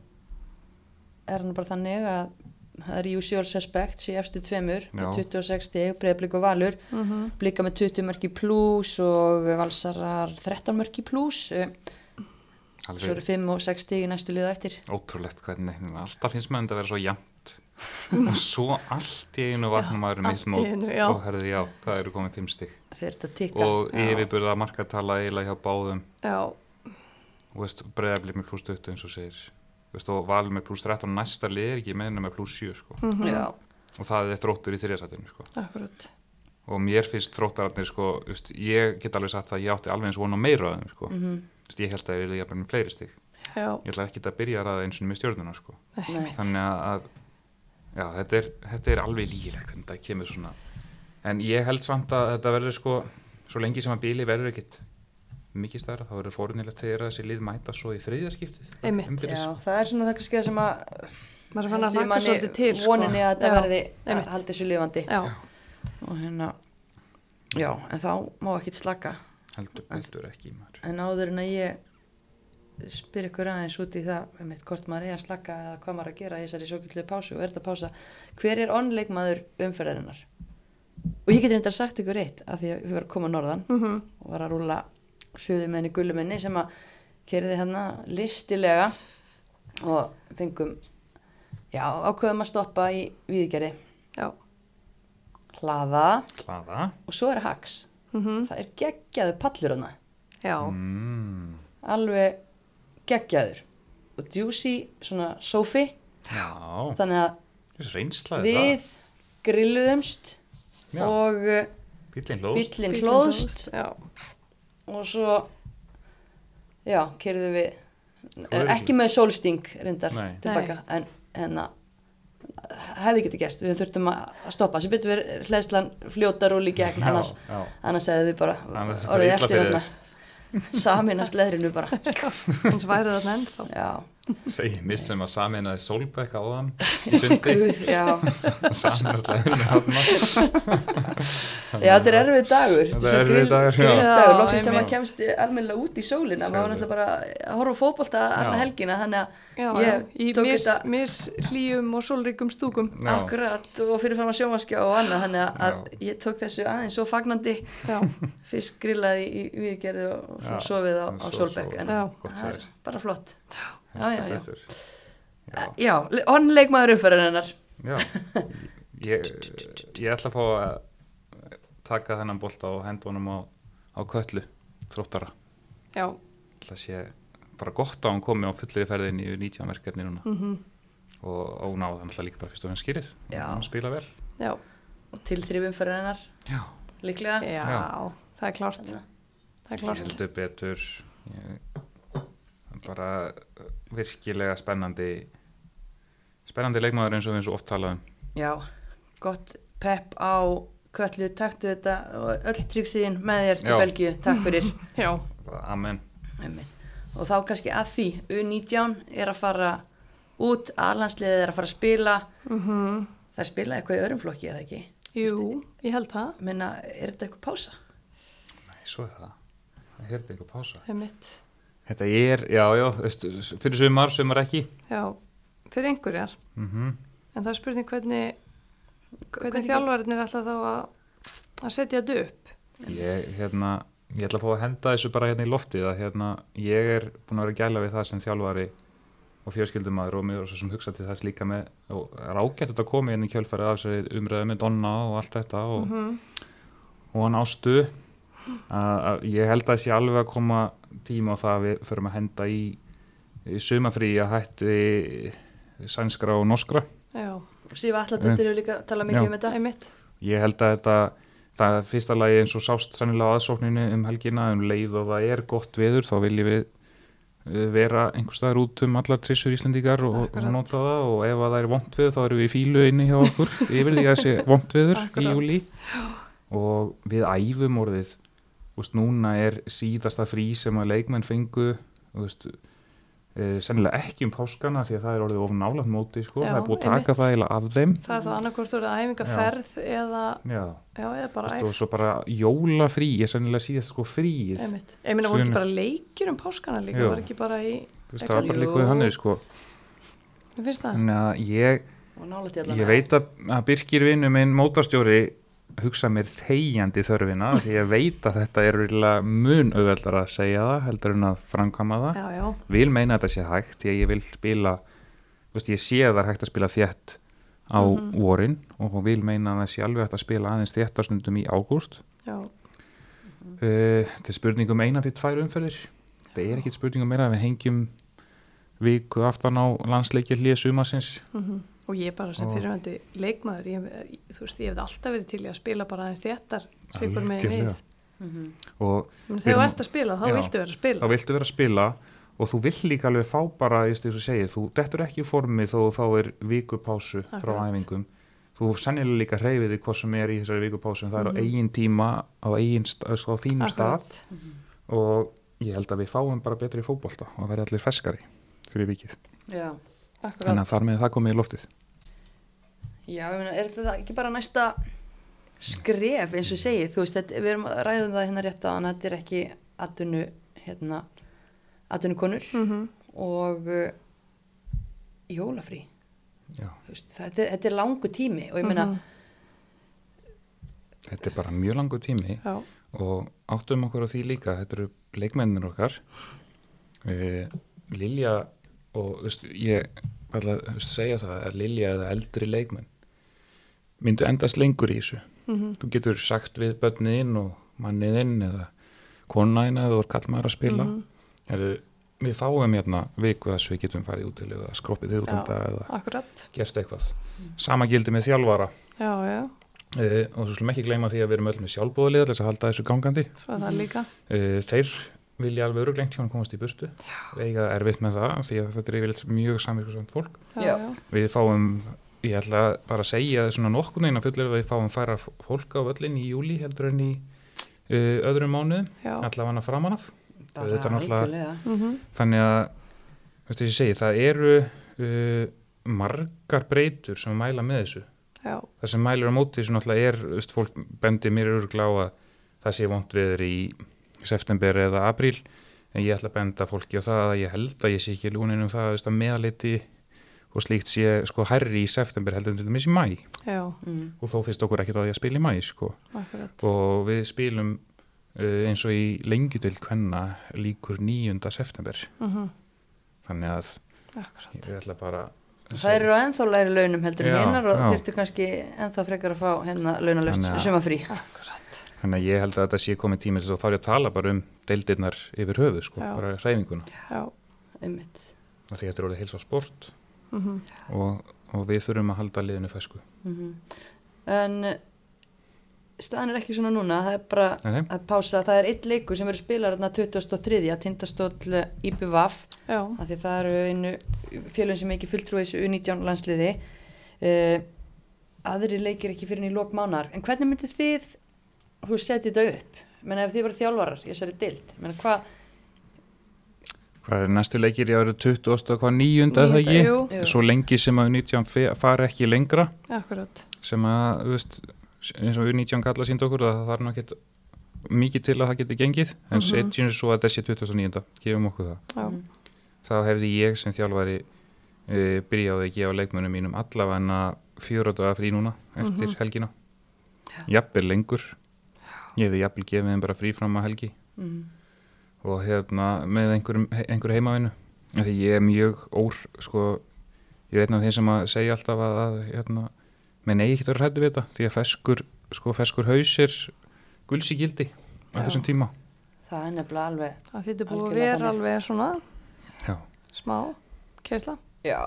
S1: er hann bara þannig að það er usual suspects í efstu tveimur með
S3: Já.
S1: 26 stig, breyðblik og valur
S2: Mm
S1: blika með 20 mörki pluss og valsarar 13 mörki pluss eh, svo
S3: alveg
S1: eru 5 og 6 stig í næstu liða eftir
S3: ótrúlegt hvernig alltaf finnst maður þetta að vera svo jæmt og svo allt í einu vakna maður um
S2: allt
S3: eitt
S2: í
S3: mót
S2: einu, já.
S3: og herði já, það eru komið fimm stig
S1: fyrir þetta tikka
S3: og
S1: Já.
S3: yfirbyrða markatala eiginlega hjá báðum
S2: Já,
S3: og veist, breyðablið með pluss 20 eins og segir veist, og valið með pluss 13 og næsta lið er ekki meðinu með pluss 7 sko.
S1: Mhm. Já,
S3: og það er þróttur í þriðasætinu sko.
S2: Mhm. akkurat.
S3: og mér finnst þróttararnir sko, veist, ég get alveg sagt að ég átti alveg eins vona á meira að þeim sko.
S2: Mhm.
S3: veist, ég held að ég vilja jafnvel með fleiri stig
S2: Já,
S3: ég ætla ekki að byrja að ræða eins og með stjórnuna sko.
S1: nei,
S3: þannig að- að já, þetta, er, þetta er alveg lígilegt hvernig þetta kemur svona en ég held samt að þetta verður sko svo lengi sem að bíli verður ekkit mikið stærra, þá verður fórunilegt þegar þessi lið mæta svo í þriðjaskiptið
S2: Einmitt,
S1: já, það er svona það kannski það sem að
S2: maður er fann að
S1: heldur
S2: hlaka svolítið til, sko.
S1: voninni að þetta
S2: Já,
S1: verði að
S2: einmitt.
S1: haldi þessu lifandi
S2: Já,
S1: og hérna já, en þá má ekkit slaka
S3: heldur betur ekki maður
S1: en áður en að ég spyr ykkur aðeins út í það um eitt hvort maður er að slaka eða hvað maður er að gera í þessari sjókullu pásu og er þetta pása hver er onleikmaður umferðarinnar og ég getur reyndar sagt ykkur eitt af því að við varum að koma að norðan
S2: Mhm.
S1: og var að rúla suðumenni gullumenni sem að kerði hérna listilega og fengum já, ákveðum að stoppa í viðgerði
S2: já,
S1: hlaða
S3: hlaða
S1: og svo er haks það er geggjaður pallur hana
S2: Mhm. já,
S3: mm.
S1: alveg geggjaður og juicy svona sofi
S3: já,
S1: þannig að
S3: þessi reynsla
S1: við grilluðumst
S3: Já.
S1: og uh,
S3: bílinn hlóð
S1: bíllinn
S2: Bíllinn
S1: hlóðst
S2: Já,
S1: og svo já, kerðum við
S3: er
S1: ekki
S3: ekki-
S1: með sólsting reyndar
S3: Nei.
S1: tilbaka en, en að hefði getið gæst, við þurftum að að stoppa sem betur við hlæðslan fljótar og líka gegn
S3: Já,
S1: annars,
S3: já.
S1: annars hefði við bara
S3: Annars er bara
S1: orðið
S3: illa
S1: eftir
S3: fyrir
S1: hérna saminast leðrinu bara
S2: eins værið þarna ennþá.
S1: já,
S3: segir mér sem að saminaði sólbæk á þann í sundi
S1: guð, já
S3: saminastlega já,
S1: Já, þetta er erfið dagur
S3: Þetta er erfiður dagur, já.
S1: Grilldagur,
S2: Já,
S1: loksins sem maður
S2: einmitt.
S1: kemst almennilega út í sólina Maður var
S3: Segðu.
S1: náttúrulega bara að horfa á fótbolta alla
S3: Já.
S1: helgina Þannig
S2: Já,
S1: að
S2: já,
S1: ég
S2: í
S1: tók
S2: mis,
S1: þetta
S2: mis hlýjum og sólryggum stúkum.
S3: Já.
S1: akkurat og fyrir fram að sjómaskja og annað Þannig að- að ég tók þessu aðeins svo fagnandi
S2: Já,
S1: Fyrst grillaði í í viðgerðu og svo
S3: Já,
S1: sofið á, á
S3: svo-
S1: sólbekk
S3: svo-
S1: En
S2: já.
S3: gott
S1: það er
S3: hjá
S1: bara flott Já, já, já
S3: betur já.
S1: Já, onnleik maður uppfæra hennar
S3: Já, ég, ég ætla að fá að taka þennan bolta og henda honum á, á köllu þróttara.
S2: já,
S3: ætla að sé bara gott að hann komi á fullri ferðin í 19 verkefni núna og, og hún á það náttúrulega líka bara fyrst og henn skýrið.
S1: Já.
S3: Hann spila vel.
S2: já,
S1: Og tilþrifum fyrir hennar
S3: Já.
S1: líklega
S2: já, það er klárt. Það er klárt.
S3: Heldur betur. Ég, bara uh, virkilega spennandi spennandi leikmaður eins og við eins og oft talaðum.
S1: Já, gott pepp á köllu, taktu þetta og öll tryggsíðin með þér til
S3: Já.
S1: Belgíu, takk fyrir
S2: Já,
S3: Bara Amen.
S1: Einmitt. og þá kannski að því U19 er að fara út aðlandsliðið er að fara að spila -hmm. það spila eitthvað í öðrum flokki eða ekki
S2: jú, ég held það.
S1: minna, er þetta eitthvað pása?
S3: Nei, svo er það. Það er þetta einhver pása.
S2: Það er mitt.
S3: Þetta er, já, já, veist, fyrir sumar, sumar ekki.
S2: Já, fyrir einhverjar.
S3: Mm
S2: En það er spurning hvernig,
S1: hvernig-
S2: hvernig þjálfarinnir ætla þá að, að setja þetta upp.
S3: Ég, hérna, ég ætla að fá að henda þessu bara hérna í loftið að hérna, ég er búin að vera að gæla við það sem þjálfari og fjörskildumæður og mér og svo sem hugsa til þess líka með, og er ágætt að þetta komi inn í kjölfærið af þessari umræðu með Donna og allt þetta og, og hann ástu að, að ég held að þessi alveg að koma tíma á það að við förum að henda í, í sumafrí að hætti sænskra og norskra
S2: Já,
S1: Sýfa Alladóttir hefur líka talað mikið
S3: Já.
S1: um
S2: það
S1: þetta
S2: er mitt.
S3: Ég held að þetta, það er fyrsta lagi eins og sást sannilega á aðsókninu um helgina, um leið og það er gott veður, þá viljum við eh, vera einhvers staðar út um allar trissur Íslendingar og, og
S2: Akkurat.
S3: nota það og ef að það er vont veður þá erum við í fílu inni hjá okkur yfir því að þessi vont veður í
S2: Akkurat.
S3: júli og við æfum orðið Úst, núna er síðasta frí sem að leikmenn fengu úst, e, sennilega ekki um páskana því að það er orðið of nálaft móti sko.
S2: Já,
S3: það er búið að taka
S2: einmitt.
S3: það eiginlega af þeim
S2: Það er þá annarkvort úr að æfingaferð eða,
S3: Mm. Já.
S2: já, eða bara
S3: Þú veist, og
S2: æf.
S3: svo bara jólafrí ég sennilega síðast sko fríið Þú
S2: Einmitt. Ég meina, voru
S3: Sunna.
S2: ekki bara leikir um páskana líka,
S3: Jú.
S2: var ekki bara í,
S3: veist, það var bara líka
S1: Jú.
S3: við þannig sko
S2: mér finnst það?
S3: þannig að uh, ég,
S1: og nálægt í
S3: ég
S1: allan
S3: veit að, að Birgir vinnu minn mótastjóri hugsa mér þegjandi þörfina því ég veit að þetta er rúlega mun auðveldar að segja það heldur en að framkama það
S2: Já, já,
S3: vil meina að þetta sé hægt því að ég vil spila þú veist, ég sé að það er hægt að spila þétt á á vorin og hún vil meina að það sé alveg hægt að spila aðeins þéttastundum í ágúst
S2: já,
S3: uh, til spurningum eina til tvær umferðir það er ekkit spurningum meira við hengjum viku aftan á landsleikja hlýja sumasins
S2: mhm. og ég bara sem
S3: Og-
S2: fyrirvændi leikmaður, ég, eh, þú veist, ég hefði alltaf verið til í að spila bara aðeins þéttar, sigur með
S3: Algjörlega.
S2: við.
S1: Mhm.
S3: og
S2: Ég meina,
S3: Við
S2: Þegar þú
S3: erum-
S2: ert að spila, þá
S3: Já.
S2: viltu vera að spila.
S3: þá viltu vera að spila og þú vill líka alveg fá bara eins og segja, þú dettur ekki í formi þó þú fáir vikupásu frá
S2: Akkurat.
S3: æfingum þú sennilega líka hreyfið því hvað sem er í þessari vikupásu en það er á eigin tíma á, eigin stað, á þínum stað
S2: Mhm. Akkurat.
S3: og ég held að við fáum bara betri fótbolta og verði allir ferskari fyrir vikið
S1: Já,
S2: Akkurat.
S3: þannig að þar með það komið í loftið
S1: já ég meina, er þetta ekki bara næsta skref eins og ég segi, þú veist, þetta, við erum að ræðum það hérna rétt að hann, þetta er ekki atvinnu, hérna, atvinnu konur
S2: Mhm.
S1: og uh, jólafrí,
S3: Já,
S1: þú veist, þetta, er- þetta er langu tími og ég meina,
S2: Mhm.
S3: þetta er bara mjög langur tími
S2: Já,
S3: og áttum okkur á því líka þetta eru leikmennir okkar uh, Lilja og þú veist, ég ætla að þú veist, segja það að Lilja eða eldri leikmenn myndu endast lengur í þessu þú getur sagt við börnin og manniðinn eða konaðinn eða þú er kallmaður að spila mm við fáum hérna viku þess við getum farið út til eða skroppið til útlanda eða
S2: akkurat.
S3: gerst eitthvað sama gildi með þjálfara
S2: Já, já,
S3: uh, og svo slum ekki gleyma því að við erum öll með sjálfbóðaliða til þess að halda þessu gangandi
S2: svo er það líka.
S3: Uh, þeir vilja alveg öruglengt hjá hann komast í burtu eiga erfitt með það því að þetta er yfirleitt mjög samvirkusamt fólk
S2: Já,
S1: Já.
S2: já.
S3: við fáum, ég ætla bara að segja svona nokkurn veginn að fullir að við fáum færa fólk á völlin í júli heldur en í uh, öðrum mánuðum
S2: Já,
S3: allavega hana framan af
S1: bara
S3: Þetta er náttúrulega-
S1: algjörlega.
S2: mhm.
S3: þannig að, veistu ég segi, það eru uh, margar breytur sem mæla með þessu
S2: já,
S3: það sem mælur á móti sem náttúrulega er, veist, fólk bendir mér örgla á að það sé vond veður í september eða apríl en ég ætla að benda fólki á það að ég held að ég sé ekki lúnin um það veist, að meðaliti og slíkt sé sko hærri í september heldur en til dæmis í mæ
S2: já,
S1: Mm.
S3: og þó finnst okkur ekkert að ég að spila í mæ sko.
S2: akkurat.
S3: og við spilum uh, eins og í lengjudeild hvenna líkur 9. september
S2: Mhm.
S3: þannig að
S2: Akkurat.
S3: ég ætla bara
S1: Það eru á ennþá læri launum heldur en
S3: Já,
S1: hinnar og
S3: já.
S1: þurftu kannski ennþá frekar að fá hérna launalöst
S3: Þannig að-
S1: sumafrí.
S2: Akkurat.
S3: Þannig að ég held að þetta sé komið tími þess að þá er ég að tala bara um deildirnar yfir höfu, sko,
S2: Já.
S3: bara hræfinguna.
S2: Já.
S1: Einmitt.
S3: Af Því þetta er orðið heilsa á sport
S2: Mm
S3: og, og við þurfum að halda liðinu fesku.
S1: Mm En eh, staðan er ekki svona núna, það er bara
S3: Nei, nei.
S1: að pása, það er eitt leikur sem verður spilar hérna 2003 að tindastóll eh, IBVAF
S2: Já,
S1: af því það eru einu félagin sem er ekki fulltrúi þessu U19 landsliði uh, aðri leikir ekki fyrir enn í lok mánar en hvernig myndið þið þú setið þetta upp, menn ef þið voru þjálfarar ég særi dild, menn hvað
S3: Hvað er næstu leikir í árið 20. hvað nýjunda eða
S2: Níunda,
S3: ekki?
S2: jú.
S1: Jú.
S3: Svo lengi sem að U19 fe- fara ekki lengra,
S2: akkurat.
S3: sem að, þú veist, eins og U19 kalla sínd okkur, að það þarf nú ekkert mikið til að það geti gengið, en
S2: Mhm.
S3: setjum við svo að þessi 2009. gefum okkur það.
S2: Já,
S1: Mhm.
S3: þá hefði ég sem þjálfari uh, byrjaði að gefa leikmönnum mínum allavega fjóra daga frí núna eftir helgina jafnvel lengur ég hefði jafnvel gefið þeim bara frí fram að helgi
S1: mm,
S3: og hefna með einhverjum, he- einhverju heimavinu af því ég er mjög ór sko, ég er einn af þeim sem að segja alltaf að, að hefna, menn eigi ekkert að vera hræddu við þetta því að feskur, sko, feskur haus er gulsi gildi á
S2: Já.
S3: þessum tíma
S1: það er nefnilega alveg
S2: að þetta er búið að
S1: Algjörlega
S2: vera
S1: þannig.
S2: alveg svona
S3: Já.
S2: smá keisla.
S1: já,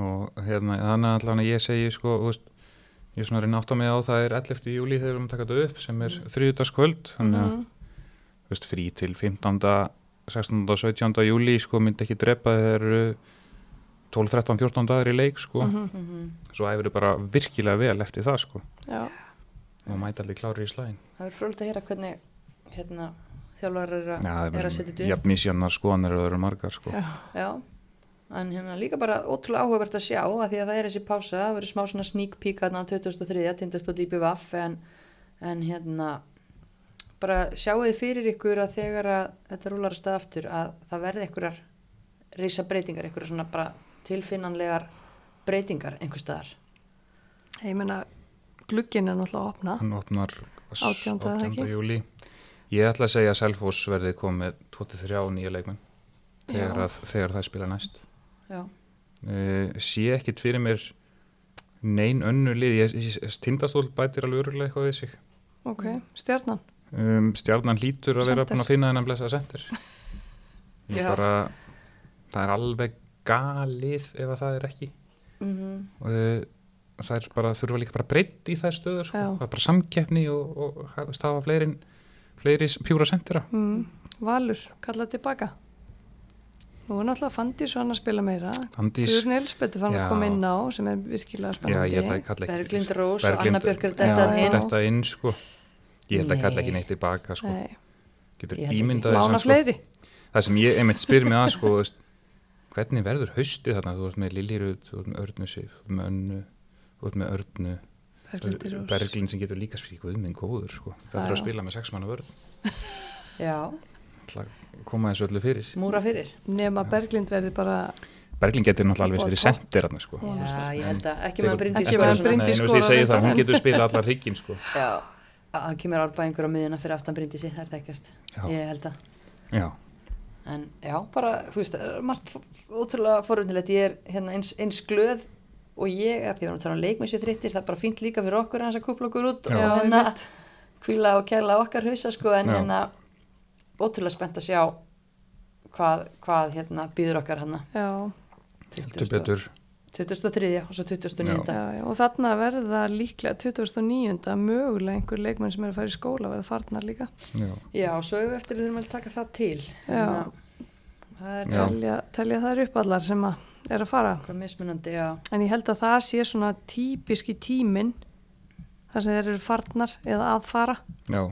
S3: og hérna, þannig að allan að ég segi sko, þú veist, ég er svona að reyna átt á mig á það er 11. júli þegar við erum að taka þetta upp sem er
S1: Mhm.
S3: mm. þriðudagskvöld þannig að,
S2: Mhm.
S3: þú veist, frí til 15. 16. og 17. júli sko, myndi ekki drepa þegar 12, 13, 14 dagar í leik sko.
S2: Mhm.
S1: mm
S3: svo æfur þau bara virkilega vel eftir það sko,
S2: Já,
S3: og mæta allir klári í slæðin
S1: það er fröld að heyra hvernig hérna, þjálfarar eru að, er að setja þetta upp
S3: jafn misjannar skoðanir og eru margar sko.
S2: já,
S1: Já, en hérna líka bara ótrúlega áhugavert að sjá að því að það er þessi pása, það verður smá svona sneak peek hérna 2003, tindast og lípi vaff en, en hérna bara sjáu þið fyrir ykkur að þegar að þetta rúlar að stað aftur að það verði einhverjar reysa breytingar, einhverjar svona bara tilfinnanlegar breytingar einhver staðar.
S2: ég meina glugginn er náttúrulega að opna.
S3: hann opnar s-
S2: 18., Ah. eða
S3: 18.
S2: ekki?
S3: júli ég ætla að segja að Selfoss verði komið 23 nýja leikmenn þegar,
S2: Já.
S3: að, þegar það spila næst
S1: Já,
S3: uh, sé ekkit fyrir mér nein önnu lið, ég, ég, ég tindastól bætir alveg öruglega eitthvað við sig
S2: ok, stjarnan
S3: um, stjarnan hlýtur að vera
S2: Center.
S3: búin að finna þennan blessaða sendir ég
S1: Já.
S3: bara það er alveg galið ef að það er ekki
S1: Mm
S3: og eh, það er bara, þurfa líka bara breytt í þær stöður sko.
S2: Já.
S3: það er bara samkeppni og, og ha- stafa fleiri, fleiri s- pjúra sendira
S2: mm. Valur, kallað tilbaka nú er náttúrulega Fandís hann að spila meira
S3: Andís,
S2: Guðrun Elisbeth er fann
S3: Já.
S2: að koma inn á sem er virkilega
S3: já ég
S2: spennandi
S3: held að ég kalla ekki
S1: Berglind Rós og
S3: Berglind-
S1: Anna Björgur
S3: já,
S1: dettað
S2: Já.
S1: inn
S3: detta inn sko. ég held að kalla ekki
S1: Nei.
S3: neitt tilbaka sko.
S2: Nei,
S3: getur
S1: Ég held ekki.
S3: ímyndað þér
S2: lána
S3: samt, sko,
S2: fleiri
S3: það sem ég einmitt spyr mig að sko, þú veist, hvernig verður haustið þarna þú ert með Lillirud, þú ert með Örnu Sif þú ert með Önnu, þú ert með Örnu
S2: Berglindir Rós.
S3: Berglind sem getur líka spyrir guðminn góður sko. það þurfa að
S2: Já.
S3: spila með sex manna vörð
S1: Já,
S3: Ætla að koma þessu öllu fyrir
S1: múra fyrir
S2: nema Berglind verði bara
S3: Berglind getur náttúrulega alveg verið
S2: Búið að
S3: sendir hann sko.
S1: Já, ég held að ekki
S3: Tekur-
S1: með Bryndís
S2: Ekki
S1: bara
S2: meðan
S1: svona.
S2: Bryndís-
S3: Nei, nú veist ég segi
S2: skorar
S3: það, hún
S2: þetta.
S3: getur spilað allar hrygginn sko.
S1: Já, að það kemur árbæðingur á miðuna fyrir aftan Bryndísi, það er þekkjast
S3: Já.
S1: Ég held að
S3: Já,
S1: En já, bara, þú veist, það er margt f- f- ótrúlega forvindilegt, ég er hérna eins, eins glöð og ég, að því að við erum að tala um leikmessi þrittir, það er bara fínt líka fyrir okkur hans að kúpla okkur út
S3: Já.
S1: og
S2: Já,
S1: hérna kvíla og kæla okkar hausa sko, en
S3: Já.
S1: hérna ótrúlega spennt að sjá hvað, hvað hérna býður okkar hérna
S2: já,
S3: heldur betur
S1: 2003 og svo 2009
S2: já, já, og þarna verða líklega 2009. mögulega einhver leikmenn sem er að fara í skóla verða farnar líka
S3: Já,
S1: Já, svo hefur eftir við þurfum að taka það til Hérna, Það er
S3: Já.
S2: telja, telja þær upp allar sem að er að fara
S1: eitthvað mismunandi já.
S2: en ég held að það sé svona típiski tíminn þar sem þeir eru farnar eða að fara
S3: já,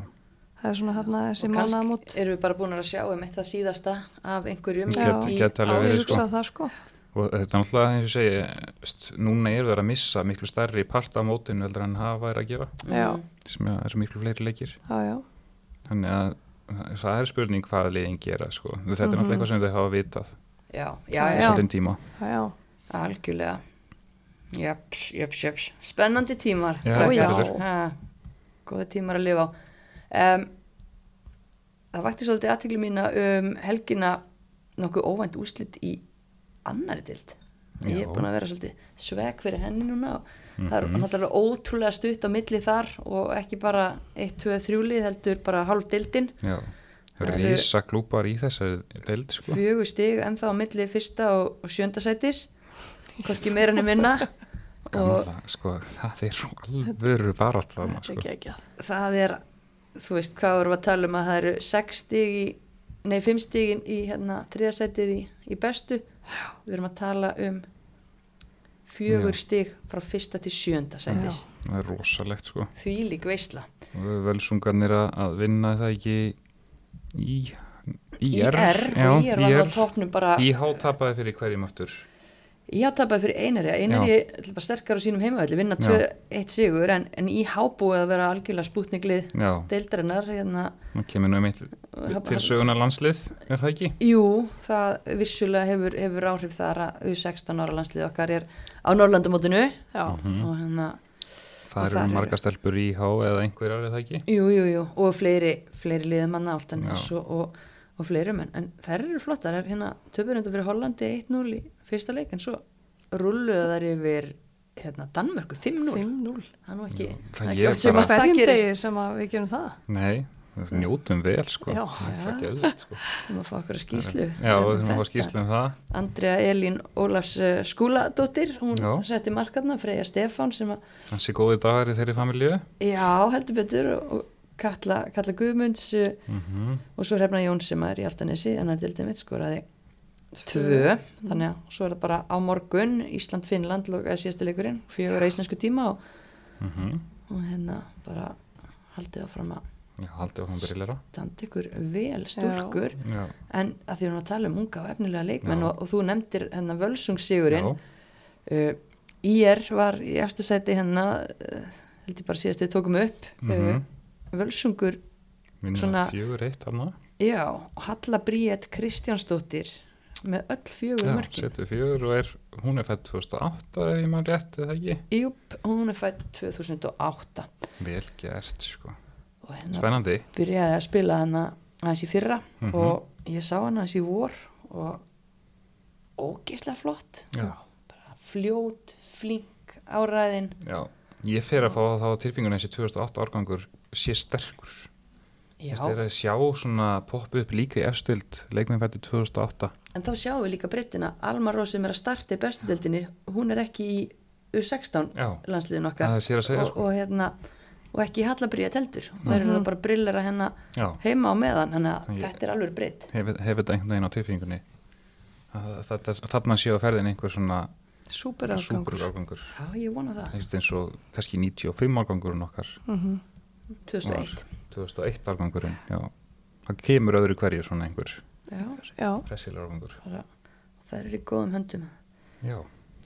S2: það er svona þarna
S1: og
S2: þessi mannamót
S1: kannski erum við bara búin að sjá um eitt það síðasta af einhverjum í
S2: Gæti-
S3: gæti alveg
S1: ár.
S2: ég
S3: verið,
S2: hugsa það sko
S3: og þetta er náttúrulega eins og ég segi, st- núna er það að missa miklu stærri part af mótinu heldur en hafa er að gera
S2: já,
S1: Mm.
S3: sem er- er miklu fleiri leikir
S2: já, já,
S3: þannig að það er spurning hvað liðin gera sko. þetta er
S2: Mhm.
S3: náttúrulega eitthvað sem þau hafa vitað
S1: já, já,
S2: Já.
S1: já,
S3: svolítið tíma
S2: já, já.
S1: algjörlega jöps, jöps, jöps spennandi tímar
S3: Já,
S1: krakkar.
S2: já.
S1: Ha, góði tímar að lifa á um, það vakti svolítið aðtegli mína um helgina nokkuð óvænt úslit í annari dild ég
S3: Já. Mhm.
S1: er búin að vera svolítið sveg fyrir henni núna og það er náttúrulega ótrúlega stutt á milli þar og ekki bara 1, 2, 3 lið heldur bara hálf dildin
S3: Já, það
S1: Það
S3: eru
S1: eru-
S3: reysa klúpar í þessari deild sko.
S1: fjögur stig ennþá á milli fyrsta og, og sjöndasætis hvorki meira enn minna og
S3: Gamla, sko, það er alvöru barátt þarna
S2: þetta
S3: sko.
S2: er ekki ekki
S1: það er þú veist hvað vorum við að tala um að það eru 6 stig í, nei 5 stigin í hérna 3 setið í, í bestu við erum að tala um fjögur
S3: Já.
S1: stig frá fyrsta til sjönda sætis
S3: það er rosalegt sko.
S1: því lík veisla
S3: Og Völsungarnir að- að vinna það ekki í
S1: IR,
S3: já,
S1: og IR var
S3: IR.
S1: á toppnum bara
S3: IH tapaði fyrir hverjum aftur
S1: IH tapaði fyrir einari einari ætla bara sterkar á sínum heimavelli vinna 2-1 sigur en, en IH búið að vera algjörlega spútninglið
S3: Já,
S1: deildarinnar hérna
S3: það kemur nú einmitt til söguna landslið, er það ekki?
S1: Jú, það vissulega hefur, hefur áhrif þar að U16 ára landslið okkar er á Norrlandamótinu
S2: já,
S3: Mhm.
S1: og hérna,
S3: Það
S1: Og þar
S3: eru
S1: eru-
S3: marga stelpur í IH eða einhverjar, er það ekki?
S1: jú, jú, jú og fleiri, fleiri liðum að náttan
S3: Já.
S1: og, og, og fleiri menn, en þær eru flottar er, hérna, töpurindu fyrir Hollandi 1-0 í fyrsta leik, en svo rulluðu þær yfir hérna, Danmörku 5-0,
S2: 5-0
S1: það er nú ekki
S3: það
S1: ekki
S3: ég
S1: oft sem
S3: bara-
S1: að það
S2: hverjum
S1: gerist
S2: degi sem að við gerum það
S3: Nei, við njótum vel sko
S2: Já.
S3: Það er geðvægt sko
S1: við maður fá okkur að skýslu
S3: Já, við þurfum að fá skýrslu um það
S1: Andrea Elín Ólafs eh, Skúladóttir, hún
S3: Já.
S1: setti markarna Freyja Stefán sem að
S3: Hansi góði dagar í þeirri familju
S1: Já, heldur betur og- og Katla, Katla Guðmunds uh,
S3: Mhm,
S1: og svo hrefna Jón sem er í Altanesi en hann dildið mitt skoraði tvö, þannig að svo er það bara á morgun Ísland-Finnland lokaði síðasti leikurinn, fjögur að íslensku tíma og,
S3: mm -hmm.
S1: og hérna bara haldið áfram að
S3: Já, haldið áfram byrjilera
S1: standa ykkur vel stúlkur
S3: Já,
S1: en að því við erum að tala um unga og efnilega leikmenn
S3: Já.
S1: og, og þú nefndir hérna
S3: já,
S1: völsungssigurinn uh, IR var í eftir sæti hérna uh, held ég bara síðast við tókum upp
S3: Mhm.
S1: uh, völsungur
S3: minna
S1: Svona-
S3: fjögur eitt annað
S1: Já, og Halla Bríett Kristjánsdóttir með öll fjögur
S3: Já,
S1: mörkin.
S3: setur fjögur og er, hún er fætt 2008 ef ég maður rétt eða ekki
S1: Júp, hún er fætt 2008
S3: Vel gert sko,
S1: og hérna
S3: spennandi
S1: byrjaði að spila hana aðeins í fyrra
S3: Mhm.
S1: og ég sá hana aðeins í vor og ógeislega flott,
S3: Já,
S1: bara fljót, flink, sterk áræðin
S3: Já, ég fer að fá þá tilfinguna þessi 2008 árgangur sé sterkur.
S1: Já,
S3: Þess að þeirra sjá svona poppu upp líka í efstild leikmennfættu 2008.
S1: en þá sjáum við líka breyttina Alma Rós sem er að starta í bestudeldinni hún er ekki í U16
S3: Já,
S1: landsliðin okkar
S3: það sér að segja
S1: og,
S3: sko. Mhm.
S1: og, hérna, og ekki hallabrýja teltur það eru það bara brillir að hennar
S3: Já,
S1: heima á meðan þannig að
S3: Ég-
S1: þetta er alveg breytt
S3: hefur hef þetta einhvern veginn á tilfingunni. Þarna séu að ferðin einhver svona
S2: Súper afgangur.
S3: súper árgangur.
S1: Já, ég vona það,
S3: Einhvern eins og kannski 95 árgangurinn okkar. var
S1: 2001
S3: 2001 árgangurinn, já. Það kemur öðru hverju svona einhver
S1: Já,
S2: Já,
S3: pressilega árgangur.
S1: bara, það er í góðum höndum
S3: Já,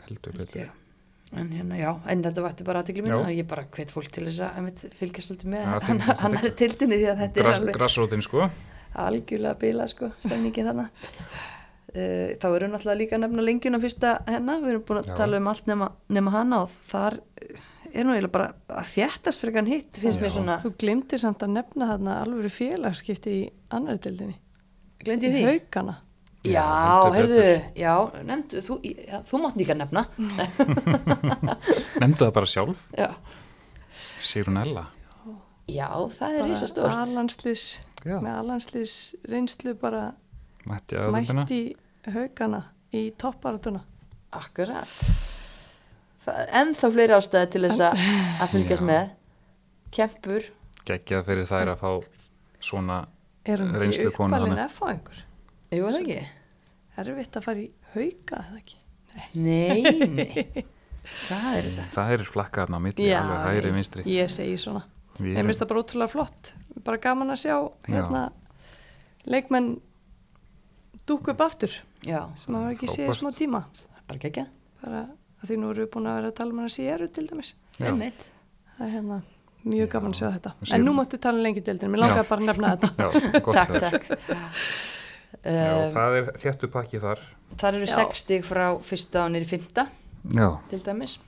S3: heldur
S1: held
S3: betur.
S1: ég. En hérna, já, en þetta vætti bara aðtekli mín
S3: Já.
S1: og ég bara hvet fólk til þess að einmitt, fylgjast svolítið með hann-
S3: Já, fylgjast með
S1: hann er tildinni því að þetta er
S3: Gras,
S1: alveg
S3: grassrótin sko.
S1: algjörlega bila, sko, stemningin þarna. Uh, þá erum við náttúrulega líka að nefna lengjuna fyrsta hennar, við erum búin að
S3: Já.
S1: tala um allt nema, nema hana og þar er nú eiginlega bara að þjættast fyrir hann hitt, finnst
S3: Já.
S1: mér svona,
S2: þú glemdi samt að nefna þarna alvöru félagskipti í annari dildinni.
S1: glendi því?
S2: Haukana.
S1: Já,
S3: Já, heldur
S1: heyrðu, já, nefndu, þú, já, þú mátt líka nefna. Mm.
S3: Nefndu það bara sjálf.
S1: Já,
S3: Sigrun Ella.
S1: já það er risa stort.
S2: Alanslis,
S3: Já.
S2: með alanslis reynslu bara
S3: Mætti aðvöldina.
S2: mætti haugana í topparatuna.
S1: Akkurat. Ennþá fleiri ástæði til þess að að fylgjast
S3: Já.
S1: með. Kempur,
S3: geggjað fyrir þær að fá svona
S2: Er hún ekki
S3: Reynslu konu
S2: uppalinn
S3: hana.
S2: F á einhver?
S1: jú, er það ekki?
S2: Erfitt að fara í hauka, eða ekki?
S1: Nei, nei. Hvað er þetta?
S3: það er flakkaðna á milli, alveg hægri vinstri
S2: ég segi svona.
S3: Við
S2: Ég
S3: erum-
S2: minnst það bara ótrúlega flott. Bara gaman að sjá hérna leikmenn dúk upp aftur
S1: Já,
S2: sem maður ekki séð í
S3: Frábært.
S2: smá tíma.
S1: bara ekki ekki.
S2: Bara að því nú eru við búin að vera að tala um hana séru til dæmis.
S3: Já.
S1: Einmitt.
S2: Það er hérna mjög gaman að sjá þetta.
S3: Séru.
S2: En nú máttu tala um lengi deildinu, mér langaði bara að nefna þetta.
S3: Já, gott
S1: Takk,
S3: það.
S1: takk.
S3: Já,
S1: Um,
S3: það er þjættu pakki þar
S1: þar eru
S2: Já.
S1: sex stig frá fyrsta og nýri fymta,
S3: já,
S1: til dæmis.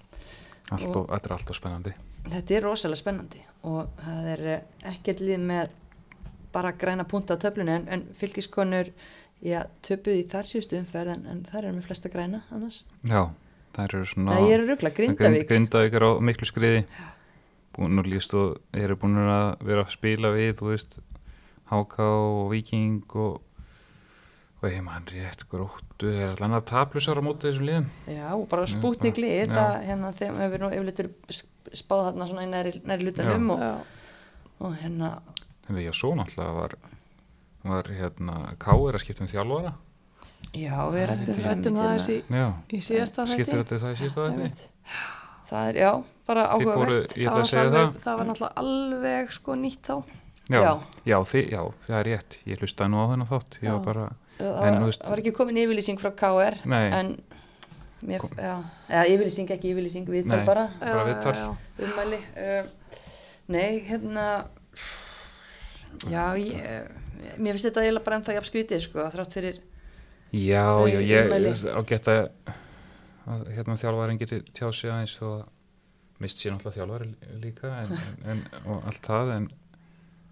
S3: allt og, þetta er alltaf spennandi
S1: Þetta er rosalega spennandi og það er eh, ekkert lið með bara græna punta á töflunni en, en fylgiskonur, já, töpuð í þar síðustu umferð en, en þar eru með flesta græna annars.
S3: já, það eru svona
S1: Nei, ég er að rugla, Grindavík.
S3: Grindavík er á miklu skriði búin og líst og eru búin að vera að spila við, þú veist Háká og Víking og og ég mann rétt gróttu er allan að taplusar á móti þessum liðum
S1: Já, og bara spútnikli,
S3: Já.
S1: það hérna þeim hefur nú yfirleitt verið sp- spáð þarna svona í næri, næri lutanum og,
S2: Já,
S1: og hérna,
S3: Hefði ég svo náttúrulega var, var hérna, K er að skipta um þjálfara
S1: já, við rættum
S3: hérna.
S2: rættum það
S1: hérna.
S2: aðeins í,
S3: Já,
S2: í síðasta
S3: skipta þetta það í síðasta þætti
S1: Það er, já, bara
S3: Þið fóru,
S1: áhugavert.
S3: ég ætla að segja
S2: var
S3: það
S2: alveg- það var náttúrulega alveg sko nýtt þá.
S3: Já,
S1: Já.
S3: já, þið, já, það er rétt Ég hlustaði nú á þennan þátt Ég var bara,
S1: Það
S3: en
S1: var,
S3: þú veist-
S1: það var ekki komin yfirlýsing frá KR,
S3: Nei.
S1: en mér, já, eða yfirlýsing, ekki yfirlýsing, við
S3: Nei.
S1: þar bara
S3: Bara viðtal.
S2: Já, já, já.
S1: ummæli. Uh, nei, hérna, já, ég, eh, mér finnst þetta eiginlega bara ennþá jafn skrítið, sko, þrátt fyrir,
S3: já,
S1: Þau
S3: já, ég
S1: ummæli.
S3: á geta að hérna þjálfarin geti tjáð sig aðeins og mist sér náttúrulega þjálfari líka en, en, en, og allt það en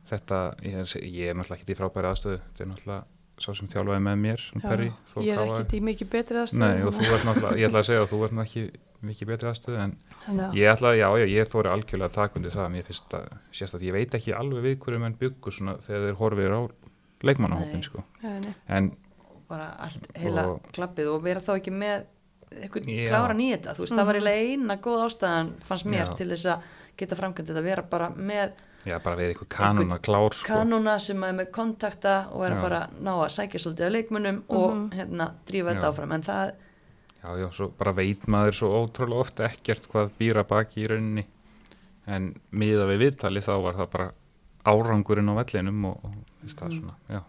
S3: þetta, ég er, ég er náttúrulega ekki í frábæri aðstöðu, þetta er náttúrulega sá sem þjálfaði með mér, hann Perri frá
S2: ég er
S3: KR.
S2: ekki í mikið betri aðstöðu.
S3: Nei, og þú ert náttúrulega, ég ætla að segja að þú ert nú ekki mikið betri aðstöðu en
S2: Þannig að,
S3: ég ætla að, já, já, ég fóri algjörlega að taka undir það, mér finnst að, sérst að ég veit ekki alveg við hverju menn byggu svona þegar þeir horfir á leikmannahópin,
S1: Nei.
S3: sko,
S2: Nei, nei.
S3: en
S1: bara allt heila
S3: Og-
S1: klappið og vera þá ekki með eitthvað
S3: Já. Mhm.
S1: kláran í þetta, þú veist, það var eiginlega eina góð ástæðan fannst mér
S3: Já.
S1: til þess að geta framkvæmt þetta, vera bara með
S3: já, bara verið eitthvað kanuna klár, sko,
S1: kanúna sem er með kontakta og er
S3: Já.
S1: að fara að ná að sækja svolítið af leikmunum og hérna drífa
S3: Já.
S1: þetta áfram, en það
S3: já, já, svo bara veit maður svo ótrúlega oft ekkert hvað býra baki í rauninni, en miða við viðtali þá var það bara árangurinn á vellinum og, og finnst
S1: Mhm.
S3: það svona, já,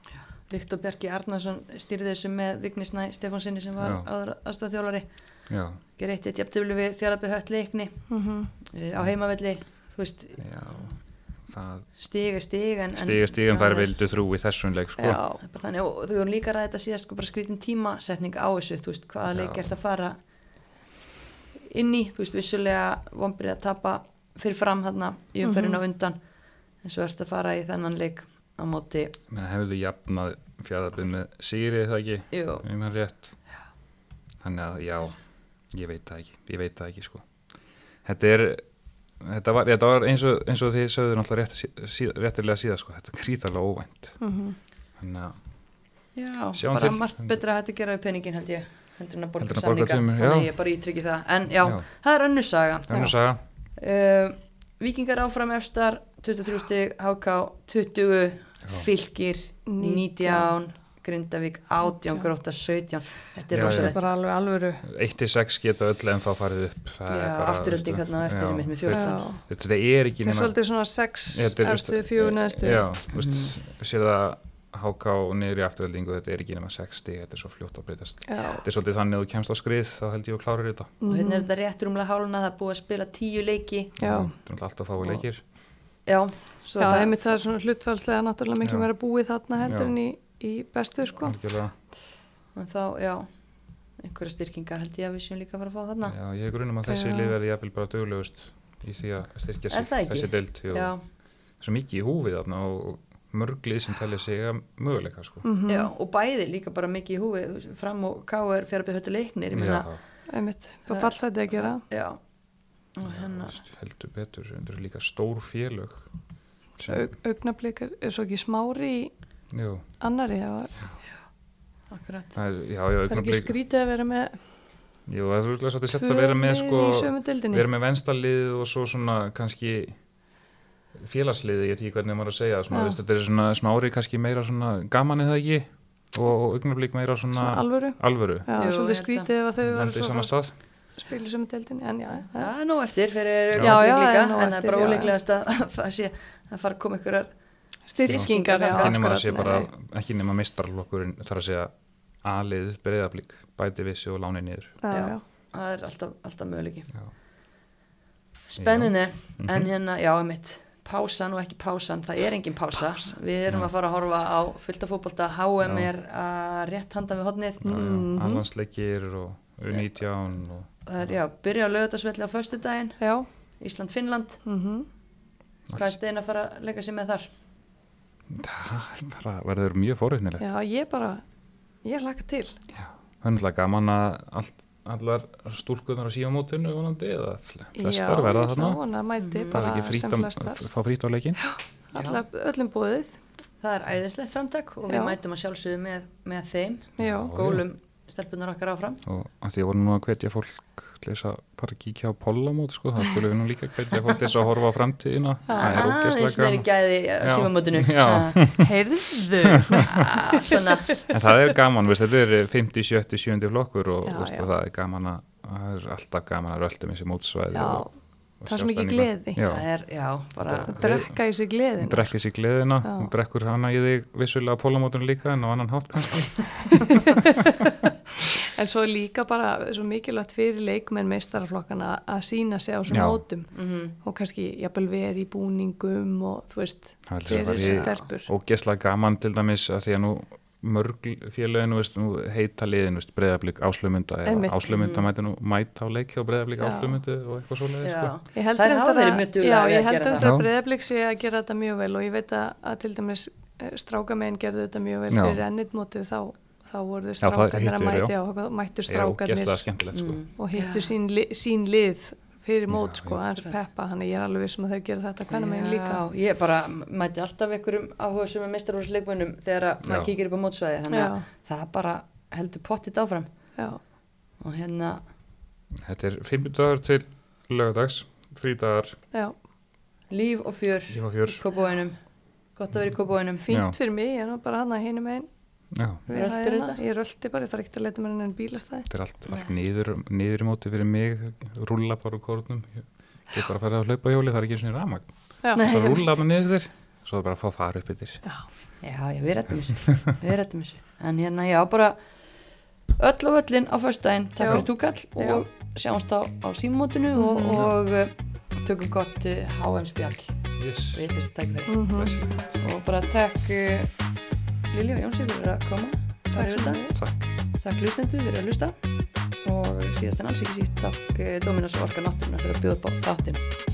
S1: Viktor Bjarki Arnarsson stýrði þessu með Vignisnæ Stefánsinni sem var
S3: Já.
S1: áður aðstofþjólari
S3: já,
S1: gerði eitt eitt jafntöflu við þjálabið hött leikni
S2: Mhm.
S1: eh, á heimavelli þú veist,
S3: já, það
S1: stiga stiga en, en-
S3: stiga stiga,
S1: Já,
S3: þær vildu þrú í þessum leik, sko,
S2: Já,
S1: Það er bara þannig, og þau voru líka ræðið að síðast sko bara skrítin tímasetning á þessu þú veist, hvaða
S3: Já.
S1: leik er að fara inn í, þú veist, vissulega vombrið að tapa fyrir fram þarna í umferðinu á undan en svo ertu að fara í þennan leik á móti,
S3: menn hefðu jafnað fjæðarbyrð með Sigri er það ekki
S1: jú,
S3: um hann rétt þannig að já, ég veit það ekki ég veit það ekki sko þetta er þetta var, þetta var eins, og, eins og þið sögðu náttúrulega rétt, sí, réttilega síðan sko, þetta er gríðarlega óvænt
S1: Mhm.
S3: þannig að
S1: Já,
S3: Sjáum
S1: bara
S3: til.
S1: margt betra að þetta gera við peningin held ég heldur en að borga
S3: Heldur en að borga
S1: samninga
S3: tveimur,
S1: og
S3: já.
S1: nei, ég bara ítrykki það, en já,
S3: Já.
S1: það er önnur saga
S3: það er nú saga
S1: uh, Víkingar áfram efstar 23 stig, HK 20 Fylgir
S2: Mhm.
S1: 19 Grindavík 18, Gróta 17 þetta er
S3: Já, já.
S2: það er
S1: rosalegt
S2: bara alveg alvöru
S3: 1-6 geta öll en þá farið upp Það er
S1: Já,
S3: bara,
S1: afturölding
S3: veistu,
S1: þarna á eftir
S3: já,
S1: einmitt með
S2: Já.
S1: 14.
S3: þetta, þetta er ekki
S2: það er
S3: nema
S2: svolítið svona sex
S3: Þetta er,
S2: efstu
S3: veist,
S2: fjögur neðstu
S3: já, veist,
S1: Mm.
S3: sér það háká og niður í afturöldingu þetta er ekki nema 6 stig, þetta er svo fljótt að breytast
S2: Já.
S3: þetta er svolítið þannig að þú kemst á skrið þá held ég að klára þetta
S1: og
S2: Mhm.
S1: hérna er þetta rétt rúmlega háluna það er búið að spila 10 leiki
S2: Já.
S3: þetta er alltaf fáið leikir
S1: já, svo
S2: Já,
S1: það
S2: einmitt það er svona hlutfælslega náttúrulega miklu
S3: Já.
S2: meira búið þarna heldur
S3: Já.
S2: en í, í bestu sko.
S3: Algjörlega.
S1: en þá, já einhverja styrkingar held ég að við séum líka að fara að fá þarna
S3: Já, ég grunum að þessi
S2: Já.
S3: lið verði jafnvel bara döglegust í því að styrkja
S1: Er
S3: sig
S1: það ekki?
S3: þessi deild jú.
S1: já,
S3: svo mikið í húfið þarna og mörglið sem telja sig að möguleika sko. mm.
S2: Mhm.
S1: já, og bæði líka bara mikið í húfi þú veist, fram og K.R. fjarbið höttu leiknir ég meina,
S2: einmitt, bara fallsæti að gera
S1: já, og hérna
S3: heldur betur, þetta eru líka stór félög
S2: Aug, augnablík er, er svo ekki smári í
S3: Jú,
S2: annari það var-
S1: akkurat,
S3: það er, já, já,
S2: það er ekki
S3: augnablik
S2: skrítið að vera með
S3: Jú, það er svolítið svolítið sett
S2: tvö
S3: að vera með
S2: lið
S3: sko,
S2: í sömu deildinni
S3: vera með venstalið og svo svona kannski félagsliði, ég veit ekki hvernig maður að segja það, svona,
S2: Já.
S3: veist, þetta er svona smári kannski meira svona gaman eða ekki og augnablik meira svona,
S2: svona alvöru
S3: alvöru,
S2: Já,
S1: Jú,
S2: svolítið
S1: ég held
S2: skrítið ef að þau
S3: alvöru.
S2: varu
S3: í
S2: svo
S3: sama
S2: frá
S3: stað
S2: spilu sem deildin en já, það
S1: það er nóg eftir fyrir
S3: Já.
S1: augnablik
S2: Já, já, það er
S1: líka,
S2: nóg
S1: en það er
S2: eftir,
S1: bara
S2: já, já.
S1: óleiklegast að að það sé að fara að koma einhverjar
S2: er styrkingar já,
S3: ekki nema að sé
S2: akkurat,
S3: bara,
S2: nei.
S3: ekki nema mistarlokkurinn þarf að segja alið breyðablík, bæti vissi og láni niður
S2: já,
S1: Já.
S2: já.
S1: það er alltaf, alltaf möguleiki
S3: Já.
S1: spenninni,
S3: Mhm.
S1: en hérna, já, einmitt pásan og ekki pásan, það er engin pása við erum að fara að horfa á fullta fótbolta HM
S3: Já.
S1: er að rétt handa við hodnið
S2: Mhm.
S3: mm. allansleikir og U19 og
S1: það er, já, byrja á lögutasvelli á föstudaginn
S2: já.
S1: Ísland-Finnland,
S2: mhm.
S1: hvað er stein að fara að leika sér með þar?
S3: það er bara verður mjög fórhugnileg
S2: já, ég bara ég laka til
S3: það er náttúrulega gaman að allt, allar stúlkunar á síðamótinu vonandi eða fl-
S2: já,
S3: flestar verða
S2: ég
S3: þarna
S2: ætla að vona að mæti
S3: það
S2: bara
S3: er ekki
S2: sem
S3: frýtt
S2: flestar
S3: að fá frýtt á leikin
S2: Alla, öllum búið
S1: Það er æðislegt framtak og við
S2: Já.
S1: mætum að sjálfsögðu með, með þeim
S2: já,
S3: já.
S1: gólum stelpunar okkar áfram
S3: og af því að voru nú að hvetja fólk til þess að fara að kíkja á pollamót sko, það skulle við nú líka hvetja fólk til þess að horfa á framtíðina það er
S1: aðeins
S3: ógeðslega
S1: meiri
S3: gaman
S1: gæði
S3: Já.
S1: símamótinu Ah,
S3: Já.
S2: heyrðu
S1: svona,
S3: En það er gaman, veist, þetta er 50, 70, 70 flokkur og
S2: Já,
S3: veist,
S2: já.
S3: það er gaman að það er alltaf gaman að rölda með sér mótsvæði
S2: Já,
S3: og, og
S2: það er
S3: sjá
S2: svo mikið
S3: stemninguna.
S2: gleði.
S1: það
S3: Já,
S1: er, já, bara
S3: Þetta-
S2: brekka í sig
S3: hún
S2: gleðin
S3: brekkur sér gleðina,
S2: Já.
S3: hún brekkur hana í þig vissulega á pólamótunum líka en á annan hátt kannski.
S2: en svo er líka bara svo mikilvægt fyrir leikmenn meistaraflokkana að sína sig á svona
S3: Já.
S2: mótum
S1: mhm.
S2: og kannski jafnvel verið í búningum og þú veist,
S3: Það er
S2: fyrir
S3: bara í-
S2: þessi stelpur
S3: Og gæslega gaman til dæmis að því að nú mörg félögin, veist, nú heita liðin, veist, breyðablík áslömynda
S2: Einmitt.
S3: eða áslömynda mæti nú mæta á leik hjá breyðablík
S2: Já.
S3: áslömyndu og eitthvað svoleiðis.
S1: já.
S3: Sko.
S2: Ég held
S1: þær hafa
S2: reyndar
S1: verið
S2: að-
S1: mjög duglega
S2: Já,
S1: við
S2: ég
S1: að
S2: held
S1: gera
S2: að
S1: það
S3: það.
S2: þetta breyðablík sé að gera þetta mjög vel og ég veit að, að til dæmis strákamein gerðu þetta mjög vel
S3: Já.
S2: fyrir ennitmótið þá, þá voru
S3: það
S2: strákarnir að
S3: hittu þeir,
S2: mæti
S3: já.
S2: á og mættu
S3: Það er ógæslega
S2: strákarnir
S3: skemmtilegt
S1: Mm.
S3: sko.
S2: og hittu sín, li, sín lið fyrir mót
S3: Já,
S2: sko,
S3: já.
S2: aðeins peppa hann ég er alveg vissum að þau gera þetta hvernig megin líka
S1: Já, ég bara mæti alltaf einhverjum áhuga sem er meistarhúsleikmönnum þegar að
S3: Já.
S1: maður kíkir upp á mótsvæði þannig að
S2: Já.
S1: það bara heldur pottit áfram
S2: Já,
S1: og hérna,
S3: Þetta er 50 dagar til lögadags, 3 dagar
S2: já,
S1: líf og fjör
S3: Líf og fjör.
S1: í kópóinum, gott að vera í kópóinum
S3: Já.
S2: fínt fyrir mig, ég er nú bara hann að hinum einn
S3: Já.
S2: við
S1: Röltir
S2: hæðina.
S1: þetta?
S2: ég rölti bara, ég þarf ekkert að leita mér enn bílastæði
S3: Þetta er allt, allt niður, niður í móti fyrir mig, rúlla bara úr kórnum, ég get bara að fara að hlaupa hjóli, það er ekki eins og ramagn.
S2: Já,
S3: Það rúlla bara niður þér, svo það bara að fá að fara upp yfir.
S2: já,
S1: Já, já, við rættum þessu, við rættum þessu. En hérna, já, bara öll á öllin á föstudaginn, takk
S2: Já.
S1: fyrir túkall
S2: Já. Mhm.
S1: og sjáumst á, á símótinu og, og uh, tökum gott uh, HM spjall
S3: Yes,
S1: við fyrst tækveri.
S2: Mhm.
S3: blessilegt.
S1: Og bara takk uh, Lili og Jónsi fyrir að koma, fara
S2: takk
S1: yfir
S2: svo
S1: þetta.
S2: mér
S3: Takk.
S1: Takk hlustendu fyrir eh, að hlusta og síðast en alls ekki síst takk uh, Dóminas og Orka Náttúruna fyrir að bjóða upp á þáttinn.